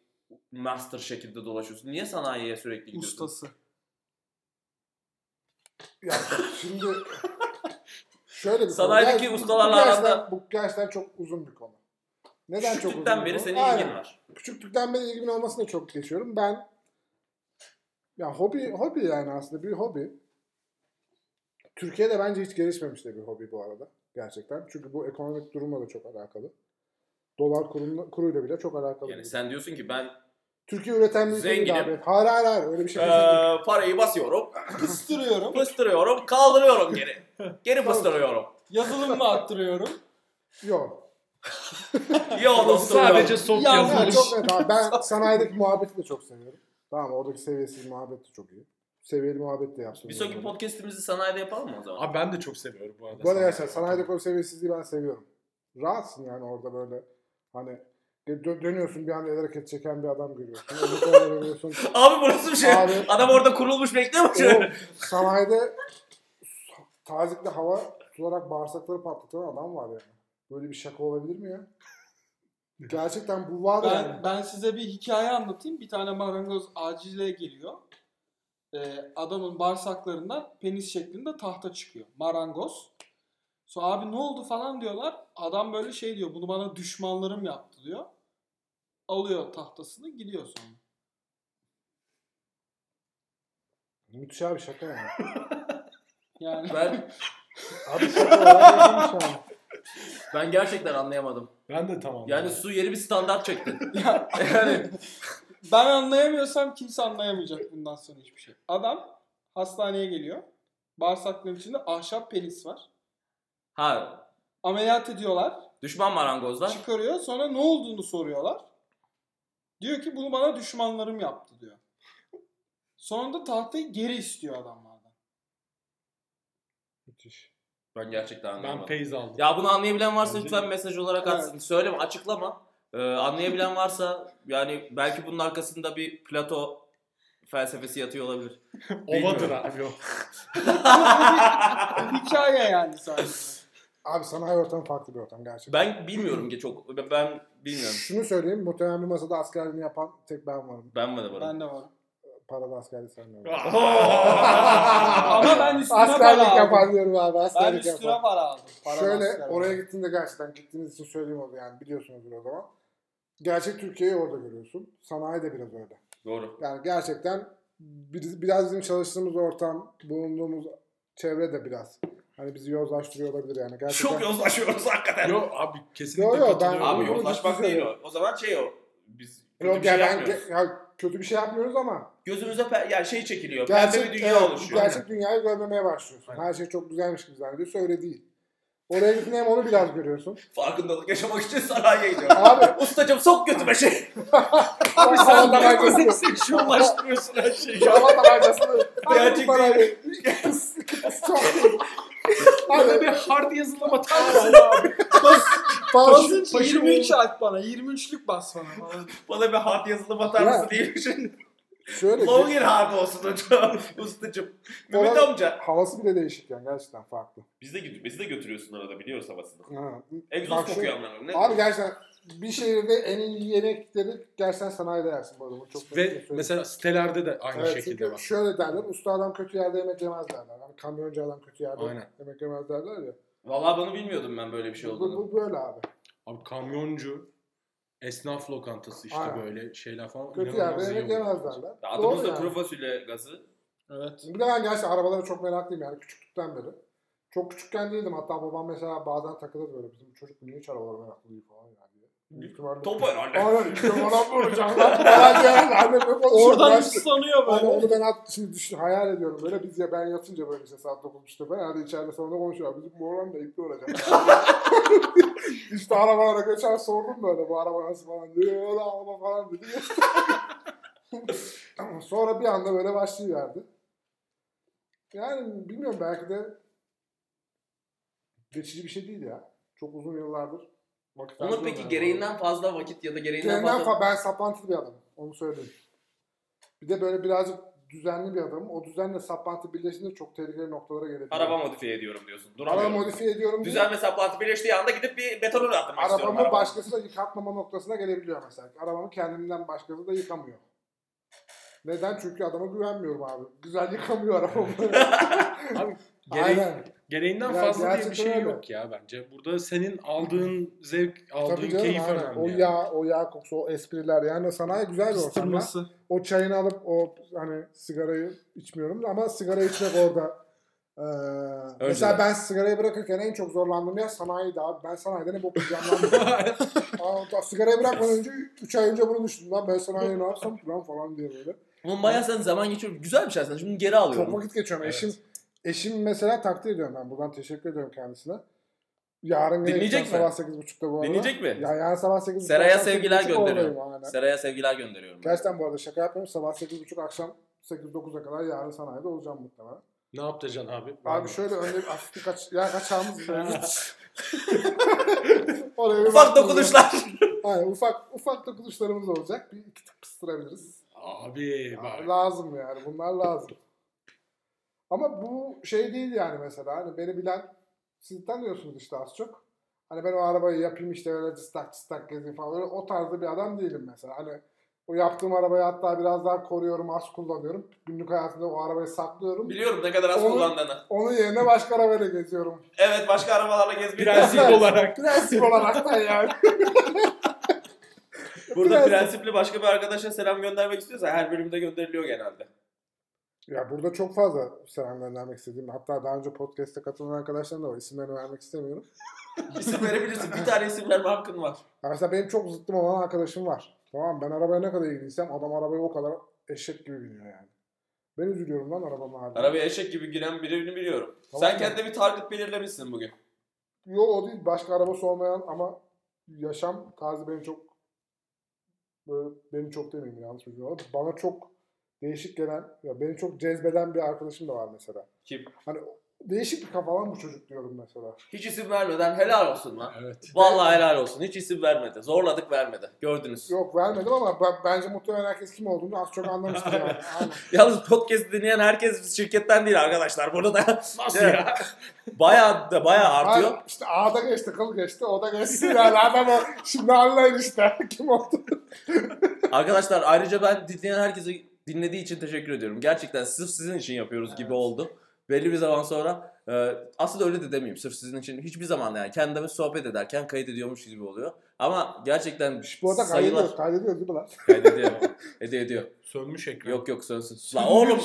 master şekilde dolaşıyorsun? Niye sanayiye sürekli gidiyorsun?
Ustası.
Ya şimdi şöyle bir
Sanayideki
konu. Bu- bu
ustalarla
gerçekten-
arada-
Bu gerçekten çok uzun bir konu. Neden çok uzun
Küçüklükten
bir
beri
konu?
senin
Aynen.
ilgin var.
Küçüklükten beri ilgimin olmasına çok geçiyorum. Ben ya hobi hobi yani aslında bir hobi. Türkiye'de bence hiç gelişmemiş de bir hobi bu arada. Gerçekten. Çünkü bu ekonomik durumla da çok alakalı. Dolar kurunla- kuruyla bile çok alakalı.
Yani
bir-
sen diyorsun ki ben
Türkiye üreten bir
Zenginim. Ee,
değil abi. Hayır hayır hayır öyle bir şey değil.
eee, parayı basıyorum,
Kıstırıyorum.
pıstırıyorum, kaldırıyorum geri. Geri pıstırıyorum.
Yazılımla attırıyorum.
Yok.
Yo dostum.
Sadece sok
Ya-
Yani
yazılmış.
çok net abi. Ben sanayideki muhabbeti de çok seviyorum. Tamam oradaki seviyesiz muhabbet de çok iyi. Seviyeli muhabbet de yapsın.
Bir sonraki podcast'imizi sanayide yapalım mı o zaman?
Abi ben de çok seviyorum bu arada.
Bu arada
sanayi.
gerçekten sanayideki o seviyesizliği ben seviyorum. Rahatsın yani orada böyle hani dö- dönüyorsun bir anda el hareket çeken bir adam görüyorsun. Öbür tarafa dönüyorsun.
Abi şey. burası bir şey.
Abi
Adam orada kurulmuş bekliyor mu?
o sanayide tazikli hava tutarak bağırsakları patlatan adam var yani. Böyle bir şaka olabilir mi ya? Gerçekten bu var yani.
Ben, ben size bir hikaye anlatayım. Bir tane marangoz acile geliyor. Ee, adamın bağırsaklarından penis şeklinde tahta çıkıyor. Marangoz. Sonra abi ne oldu falan diyorlar. Adam böyle şey diyor. Bunu bana düşmanlarım yaptı diyor. Alıyor tahtasını gidiyor sonra. *laughs*
Müthiş abi şaka yani.
Yani
Ben,
Abi şaka olarak değilmiş yani.
ben gerçekten anlayamadım.
Ben de tamam.
Yani su yeri bir standart çekti.
Ya-
Yani
ben anlayamıyorsam kimse anlayamayacak bundan sonra hiçbir şey. Adam hastaneye geliyor. Bağırsakların içinde ahşap penis var.
ha
Ameliyat ediyorlar.
düşman marangozlar.
Çıkarıyor. Sonra ne olduğunu soruyorlar. Diyor ki bunu bana düşmanlarım yaptı diyor. Sonra da tahtayı geri istiyor adamlardan.
Müthiş.
Ben gerçekten
Ben
anlayamadım.
peyz aldım.
Ya bunu anlayabilen varsa
Bence-
lütfen mesaj olarak
Evet.
atsın. Söyleme, açıklama. Ee, anlayabilen varsa yani belki bunun arkasında bir Plato felsefesi yatıyor olabilir.
Ovadır *laughs*
bilmiyorum.
abi o.
Hikaye yani sadece.
Abi sanayi ortamı farklı bir ortam gerçekten.
Ben bilmiyorum ki çok. Ben- Ben bilmiyorum.
Şunu söyleyeyim. Muhtemelen bir masada askerliğini yapan tek ben varım.
Ben mi de varım?
Ben de varım.
Paralı askerlik sanmıyorum.
Ama ben üstüne
askerlik
para aldım.
yapan diyorum abi.
Ben
Askerlik yapan.
üstüne para aldım. Paralı
Şöyle
askerlik.
oraya gittiğinde gerçekten gittiğiniz için söyleyeyim oldu yani biliyorsunuzdur o zaman. Gerçek Türkiye'yi orada görüyorsun. Sanayi de biraz öyle.
Doğru.
Yani gerçekten bir- biraz bizim çalıştığımız ortam, bulunduğumuz çevre de biraz hani bizi yozlaştırıyor olabilir yani. Gerçekten
Çok yozlaşıyoruz hakikaten.
Yo abi kesinlikle
Yo, yo, ben-
katılıyorum.
Abi
Yok,
yozlaşmak
ciddi
değil o. O zaman şey o. Biz kötü
Yok
bir şey
ya ben
yapmıyoruz.
ge- ya kötü bir şey yapmıyoruz ama
Gözümüze per- yani şey çekiliyor.
gerçek,
pembe bir dünya
evet,
oluşuyor.
gerçek dünyayı görmemeye başlıyorsun.
Aynen.
Her şey çok güzelmiş gibi zannediyorsun. Öyle değil. Oraya gittiğinde hem onu biraz görüyorsun.
Farkındalık yaşamak için sanayiye gidiyorum.
*laughs* Abi-
Ustacım sok götüme
*laughs*
şey.
Abi
Sen ne kadar seksuallaştırıyorsun her şeyi.
Hava tabancasını.
Gerçek
değil. Çok.
Böyle
Abi
bir hard yazılama tarzı.
Allah abi.
baş,
Basın 23 at bana. 23'lük bas bana. falan.
Bana bir hard yazılı batar mısın
Ya.
diye bir şey.
şöyle ki,
Longin hard olsun hocam. *laughs* Ustacım.
Ona-
Mehmet amca.
havası bile değişik yani gerçekten farklı.
Biz de, gidiyor- bizi de götürüyorsun arada biliyoruz havasını.
Ha.
Egzoz
Bak şu-
kokuyor anlamıyorum. Ne?
Abi gerçekten bir şehirde en iyi yemekleri gerçekten sanayide yersin bu arada. Bu çok net bir
Ve
söylem.
mesela sitelerde de aynı
Evet,
şekilde
çünkü
var.
şöyle derler, usta adam kötü yerde yemek yemez derler. Yani kamyoncu adam kötü yerde
Aynen.
yemek yemez derler ya.
Vallahi bunu bilmiyordum ben böyle bir şey
bu,
olduğunu.
bu böyle abi.
Abi kamyoncu, esnaf lokantası işte
Aynen.
böyle şeyler falan.
Kötü
inanılmaz
yerde yemek
iyi oluyor.
yemez derler.
Adımız
Doğru
da
yani.
kuru fasulye gazı.
Evet.
Bir de ben gerçekten arabalara çok meraklıyım yani küçüklükten beri. Çok küçükken değildim. Hatta babam mesela bazen takılır böyle. Bizim çocuk niye hiç arabalara meraklı değil falan yani. diye. Büyük ihtimalle-
Topu herhalde.
Aynen. Büyük ihtimalle bana *laughs* vuracağım lan. Falan diye herhalde annemle konuşuyorum.
Oradan
Ben-
ıslanıyor
Hani
böyle.
onu ben at, şimdi düşün, hayal ediyorum böyle biz ya ben yatınca böyle işte saat 9.30'da ben herhalde içeride salonda konuşuyor. Bizim bu oğlan da ipli olacak. *laughs* işte arabalara geçen sordum böyle bu araba nasıl falan diyor. O da araba falan dedi. *laughs* Ama Sonra bir anda böyle başlayıverdi. Yani bilmiyorum belki de geçici bir şey değil ya. Çok uzun yıllardır vakit
Onur
harcıyorum
peki
yani.
gereğinden fazla vakit ya da gereğinden
Kendinden
fazla...
fa- ben saplantılı bir adamım. Onu söyleyeyim. Bir de böyle birazcık düzenli bir adamım. O düzenle saplantı birleşince çok tehlikeli noktalara gelebiliyor.
Araba modifiye ediyorum diyorsun.
Araba
Duramıyorum.
modifiye ediyorum diye
Düzen ve saplantı birleştiği anda gidip bir betonunu atmak istiyorum.
arabamı
arabama.
başkası da yıkatmama noktasına gelebiliyor mesela. Arabamı kendimden başkası da yıkamıyor. Neden? Çünkü adama güvenmiyorum abi. Güzel *laughs* yıkamıyor arabamı.
Gere-
Aynen.
Gereğinden
Ya
fazla diye bir
gerçekten
şey
öyle.
yok ya bence. Burada senin aldığın zevk, aldığın
Tabii canım
keyif
aynen.
önemli.
O
yani.
yağ, o yağ kokusu, o espriler. Yani sanayi güzel bir ortam. ya.
Isırması.
o çayını alıp o hani sigarayı içmiyorum ama sigara içmek orada. Ee, mesela ben sigarayı bırakırken en çok zorlandığım yer sanayiydi abi. Ben sanayiden hep okuyacağımdan
*laughs*
Aa, da- sigarayı bırakmadan önce 3 ay önce bunu düşündüm. Lan ben sanayiye ne yapsam ki lan falan diye böyle.
Oğlum bayağı sen zaman geçiyor. Güzel bir şey aslında. Şimdi geri
Çok
alıyorum.
vakit geçiyorum.
Evet.
Eşim eşim mesela takdir ediyorum ben. Buradan teşekkür ediyorum kendisine. Yarın yine
Dinleyecek
gideceğim
mi?
sabah 8.30'da bu arada.
Dinleyecek mi?
Ya yarın sabah 8.30'da.
Seraya
akşam
sevgiler
8.30'da oradayım
gönderiyorum.
aynen.
Seraya sevgiler gönderiyorum. ben.
Gerçekten bu arada şaka yapmıyorum. Sabah 8.30 akşam 8-9'a kadar yarın sanayide olacağım muhtemelen.
Ne yapacaksın abi?
Abi
Vallahi.
şöyle önde bir hafif bir kaç, ya kaçağımız *laughs* Oraya bir
Ufak
baktığımızda-
dokunuşlar. *laughs*
Aynen, ufak, ufak dokunuşlarımız olacak. Bir iki tık pıstırabiliriz.
Abi
Ya,
bak.
lazım yani bunlar lazım. Ama bu şey değil yani mesela hani beni bilen siz tanıyorsunuz işte az çok. Hani ben o arabayı yapayım işte öyle cıstak cıstak gezeyim falan. Öyle o tarzda bir adam değilim mesela. Hani o yaptığım arabayı hatta biraz daha koruyorum, az kullanıyorum. Günlük hayatımda o arabayı saklıyorum.
Biliyorum ne kadar az
Onu-
kullandığını.
Onun yerine başka arabayla geziyorum.
Evet başka arabalarla gezmeyi
Prensip
tercih-
olarak.
Prensip olarak da yani.
Burada
Prensip.
prensipli başka bir arkadaşa selam göndermek istiyorsa her bölümde gönderiliyor
*laughs*
genelde.
*laughs* Ya burada çok fazla selam göndermek istediğim. Hatta daha önce podcast'te katılan arkadaşlarım da var. İsimlerini vermek istemiyorum.
İsim verebilirsin. Bir tane isim verme hakkın var.
Ya Hani mesela benim çok zıttım olan arkadaşım var. Tamam mı? ben arabaya ne kadar ilgiliysem adam arabaya o kadar eşek gibi biniyor yani. Ben üzülüyorum lan arabama abi.
Arabaya eşek gibi giren birini biliyorum.
Tamam
Sen
mı?
kendine bir target belirlemişsin bugün.
Yo o değil. Başka arabası olmayan ama yaşam tarzı beni çok böyle beni çok demeyeyim yanlış bir şey cümle oldu. Bana çok değişik gelen ya beni çok cezbeden bir arkadaşım da var mesela.
Kim?
Hani Değişik bir kafa lan bu çocuk diyorum mesela.
Hiç isim vermeden helal olsun lan.
Evet.
Vallahi helal olsun. Hiç isim vermedi. Zorladık vermedi. Gördünüz.
Yok vermedim ama ben- bence muhtemelen herkes kim olduğunu az çok anlamıştır yani. Aynen.
Yalnız podcast dinleyen herkes şirketten değil arkadaşlar. Burada da
Nasıl *laughs* ya?
bayağı da bayağı artıyor.
Ay, işte A'da geçti, kıl geçti, o da geçti. Yani adam o. Şimdi anlayın işte *laughs* kim oldu.
Arkadaşlar ayrıca ben dinleyen herkese dinlediği için teşekkür ediyorum. Gerçekten sırf sizin için yapıyoruz gibi oldu. Belli bir zaman sonra e, aslında öyle de demeyeyim. Sırf sizin için hiçbir zaman yani kendime sohbet ederken kayıt ediyormuş gibi oluyor. Ama gerçekten
Bu arada
sayılar
kaydediyor, kaydediyor değil mi lan?
kaydediyor. ediyor ediyor.
Sönmüş ekran.
Yok yok sönsün. Lan oğlum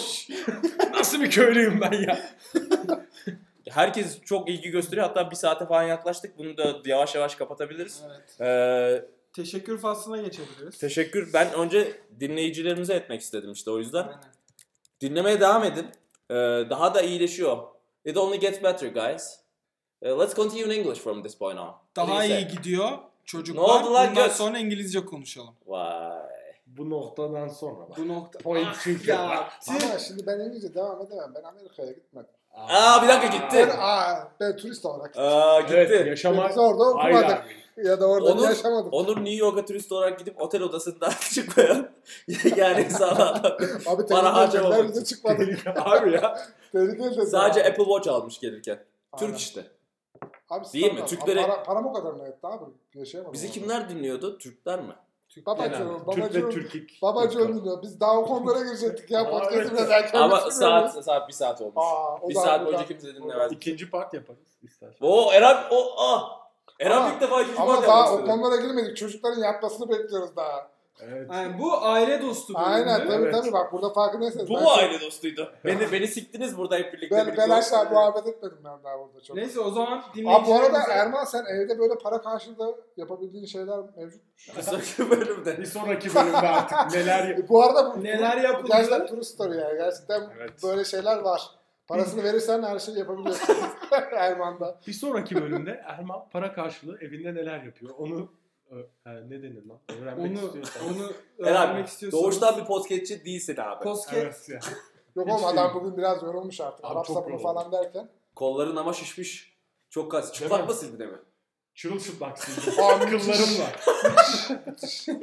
Nasıl bir köylüyüm ben ya?
herkes çok ilgi gösteriyor. Hatta bir saate falan yaklaştık. Bunu da yavaş yavaş kapatabiliriz.
Evet.
Ee,
Teşekkür faslına geçebiliriz.
teşekkür. Ben önce dinleyicilerimize etmek istedim işte o yüzden.
Aynen.
Dinlemeye devam edin. Ee, daha da iyileşiyor. It only gets better guys. Ee, let's continue in English from this point on.
Daha
Neyse.
iyi gidiyor çocuklar.
Ne oldu lan
Bundan
göz?
sonra İngilizce konuşalım.
Vay.
Bu noktadan sonra bak.
Bu nokta.
Point çünkü.
Ya.
Ama şimdi ben İngilizce devam edemem. Ben Amerika'ya gitmedim.
Aa bir dakika gitti.
Ben, aa, ben turist olarak gittim.
Aa Ee, gitti.
Evet
Biz
yaşamak
orada
ayrı
okumadık.
abi.
Ya da orada
Onur-
yaşamadık.
Onur New York'a turist olarak gidip otel odasından *laughs* çıkmaya yani sağlam.
Abi
Para
tehlikeli
harcamamak
dediler
*laughs*
bize çıkmadık.
Abi ya.
tehlikeli dediler.
Sadece Apple Watch almış gelirken.
Aynen.
Türk işte.
Abi,
Değil mi?
standart.
Türklere-
Para, param o kadar mı etti abi? Yaşayamadım.
Bizi
abi.
kimler dinliyordu? Türkler mi?
Babacığım,
Genelde. Türk ve
babacığım.
Türkik.
Babacığım diyor. Biz daha o konulara girecektik ya.
Aa, evet.
Podcast'ı derken.
Ama saat saat bir saat olmuş.
Aa, o
bir
da-
saat
o da-
boyunca kimse dinlemez.
İkinci part yaparız istersen.
Oo Eren o ah. Eren
Ama-
ilk defa ikinci
Ama
part
daha
yapmak
o
istedi.
konulara girmedik. Çocukların yapmasını bekliyoruz daha.
Evet.
Yani bu aile dostu bölümü.
Aynen tabii
Evet.
tabii bak burada farkındaysanız.
Bu
ben
mu
çok-
aile dostuydu? Beni beni siktiniz burada hep birlikte.
Ben,
birlikte
ben
olduk.
asla muhabbet etmedim ben daha burada çok.
Neyse o zaman
Abi bu
dinleyicilerimize...
arada Erman sen evde böyle para karşılığında yapabildiğin şeyler mevcut.
Bir sonraki bölümde.
Bir sonraki bölümde artık neler yap-
E, Bu arada bu,
Neler yapıldı?
Gerçekten true story yani. Gerçekten
Evet.
böyle şeyler var. Parasını verirsen her
*laughs*
şeyi yapabiliyorsun. Erman'da.
Bir sonraki bölümde Erman para karşılığı evinde neler yapıyor onu ö- ha, ne denir lan? Öğrenmek
Onu,
istiyorsan.
onu
Eren
öğrenmek
abi,
istiyorsanız...
doğuştan bir podcastçi değilsin abi.
Podcast-
Evet ya.
Yok
Hiç
oğlum adam
değil.
bugün biraz yorulmuş artık.
Abi
Arap
çok
sapını
yoruldu.
falan derken.
Kolların ama şişmiş. Çok kaç.
Değil
Çıplak
mi?
mısın bir de mi?
Çırılçıplak *laughs*
Aa,
sildim. Kıllarım var.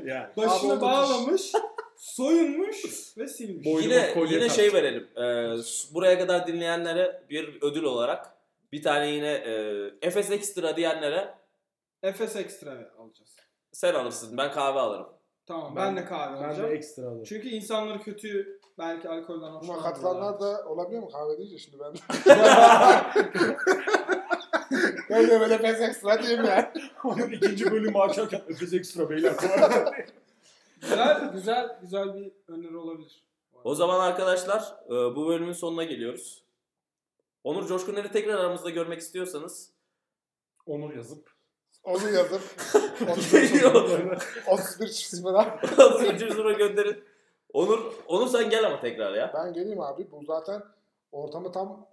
yani.
Abi, o da
Başını bağlamış, soyunmuş ve silmiş.
Boy- Boynuma
yine
kolye
yine
tak.
şey verelim. Ee, s- buraya kadar dinleyenlere bir ödül olarak bir tane yine e, Efes Extra diyenlere
Efes ekstra alacağız.
sen alırsın ben kahve alırım.
Tamam ben,
Ben-
de kahve
Ben de
alacağım.
ekstra alırım.
Çünkü insanları kötü belki alkolden
Buna
hoşlanmıyorlar.
katılanlar da olabiliyor mu kahve deyince şimdi ben? *laughs* ben de böyle pes ekstra diyeyim yani.
Oğlum İkinci bölümü açarken öpüz ekstra beyler.
Güzel, güzel, güzel bir öneri olabilir.
O zaman arkadaşlar e, bu bölümün sonuna geliyoruz. Onur Coşkuner'i tekrar aramızda görmek istiyorsanız
Onur *laughs* yazıp.
Onu yazıp
*laughs*
31,
geliyor.
31 çift sıfıra.
Zincirine gönderin. Onur, Onur sen gel ama tekrar ya.
Ben geleyim abi. Bu zaten ortamı tam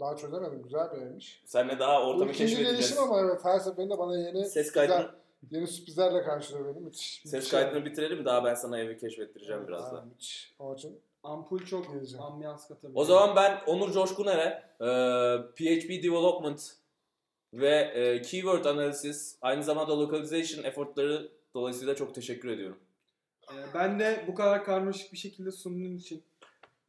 daha çözemedim. Güzel beğenmiş.
Senle daha ortamı
Bu ikinci
keşfedeceğiz.
gelişim ama evet her seferinde bana yeni
Ses
sürprizler-
kaydını,
yeni sürprizlerle karşılıyor beni. Müthiş.
ses
müthiş
kaydını bitirelim daha ben sana evi keşfettireceğim
yani.
biraz
Aa,
daha.
Müthiş. Onun için
Ampul çok
Geleceğim.
ambiyans katabilir.
O zaman ben Onur Coşkuner'e e, PHP Development ve e, Keyword Analysis aynı zamanda Localization effortları dolayısıyla çok teşekkür ediyorum.
Ee, ben de bu kadar karmaşık bir şekilde sunduğun için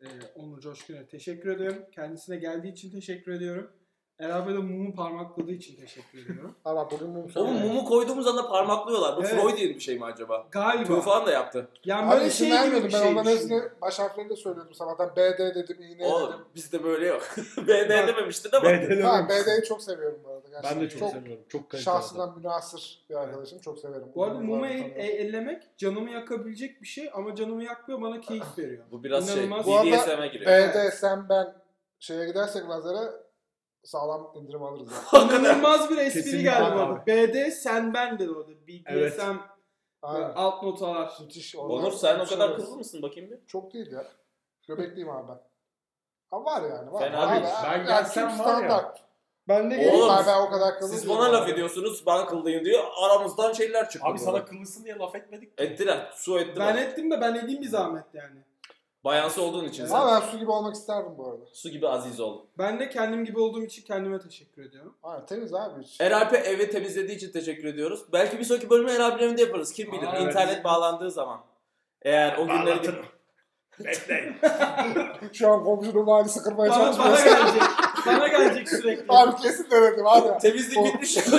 e, Onur Coşkun'a teşekkür ediyorum. Kendisine geldiği için teşekkür ediyorum. Erab'e de mumu parmakladığı için teşekkür
*laughs*
ediyorum.
Ama bugün mum
Oğlum
soğuyor.
mumu koyduğumuz anda parmaklıyorlar. Bu
Evet.
Freudian bir şey mi acaba?
Galiba.
Tufan da yaptı.
Yani
Abi
böyle
isim
şey gibi
vermiyordum.
bir
Ben
şey
onların
düşünüyorum.
hepsini baş harflerinde söylüyordum sabahtan. BD dedim, iğne dedim.
Oğlum bizde böyle yok. *laughs* BD dememiştin ama.
Ha, BD'yi çok seviyorum bu arada. Gerçekten.
Ben de çok, seviyorum. Çok kaliteli. adam.
Şahsından münasır bir arkadaşım. Çok severim.
Bu arada
Onları
mumu
zaten
el-
tanıyorum.
el- ellemek canımı yakabilecek bir şey ama canımı yakmıyor bana
*laughs*
keyif veriyor.
Bu biraz şey
İnanılmaz.
Bu arada
BDSM'e giriyor. *laughs*
BD, sen, ben şeye gidersek lazere sağlam indirim alırız.
*laughs*
Yani.
İnanılmaz bir espri
Kesinlikle
geldi
abi.
orada. BD sen ben dedi orada. BDSM
Evet.
Aynen.
alt notalar.
Müthiş.
Onur
Onlar-
sen o kadar
Evet.
kızıl mısın bakayım bir.
Çok değil ya. Göbekliyim abi ben. Ama var yani. Var.
Fena
Var
değil.
ya.
Ben
Ya
gelsem
kim
var ya.
standart?
Ben de
Oğlum,
Ben, ben o kadar kızım
Siz
değilim
bana
abi.
laf ediyorsunuz ben kıldayım diyor. Aramızdan şeyler çıktı.
Abi
burada.
sana kıllısın diye laf etmedik.
Ettiler. Su etti
Ben
bana.
ettim de ben edeyim bir zahmet yani.
Bayansı olduğun için sen.
Ama ben su gibi olmak isterdim bu arada.
Su gibi aziz ol.
Ben de kendim gibi olduğum için kendime teşekkür ediyorum.
Abi temiz abi hiç.
Eralp'e evi temizlediği için teşekkür ediyoruz. Belki bir sonraki bölümü Eralp'in evinde yaparız. Kim bilir.
Aa,
internet
evet.
bağlandığı zaman. Eğer o günleri...
Bağlatırım. *laughs* Bekleyin.
Şu an komşunun valisi kırmaya
Bana, bana
çalışmıyorsa.
gelecek. bana gelecek sürekli.
Abi kesin denedim abi.
Temizlik
O-
bitmiş. *laughs*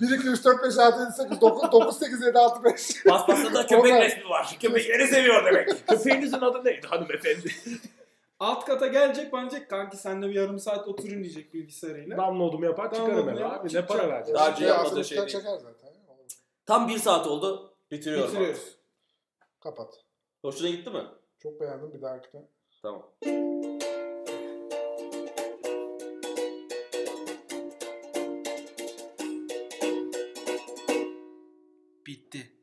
1, 2, 3, 4, 5, 6, 7, 8, 9, 9, 8, 7, 6, 5.
Paspasta da köpek
Onlar-
resmi var. Köpekleri seviyor demek.
Köpeğinizin adı neydi hanımefendi?
Alt kata gelecek bana diyecek kanki senle bir yarım saat oturun diyecek bilgisayarıyla.
Download'umu yapar çıkarım
Download'unu
eve
yap,
abi. Ne
çıkacak.
para vereceğim?
Daha önce
Ya,
yapmadığı şey değil.
çeker zaten.
Tam bir saat oldu. Bitiriyorum.
Bitiriyoruz.
Kapat.
Hoşuna gitti mi?
Çok beğendim bir dahakine.
Tamam.
Bitti.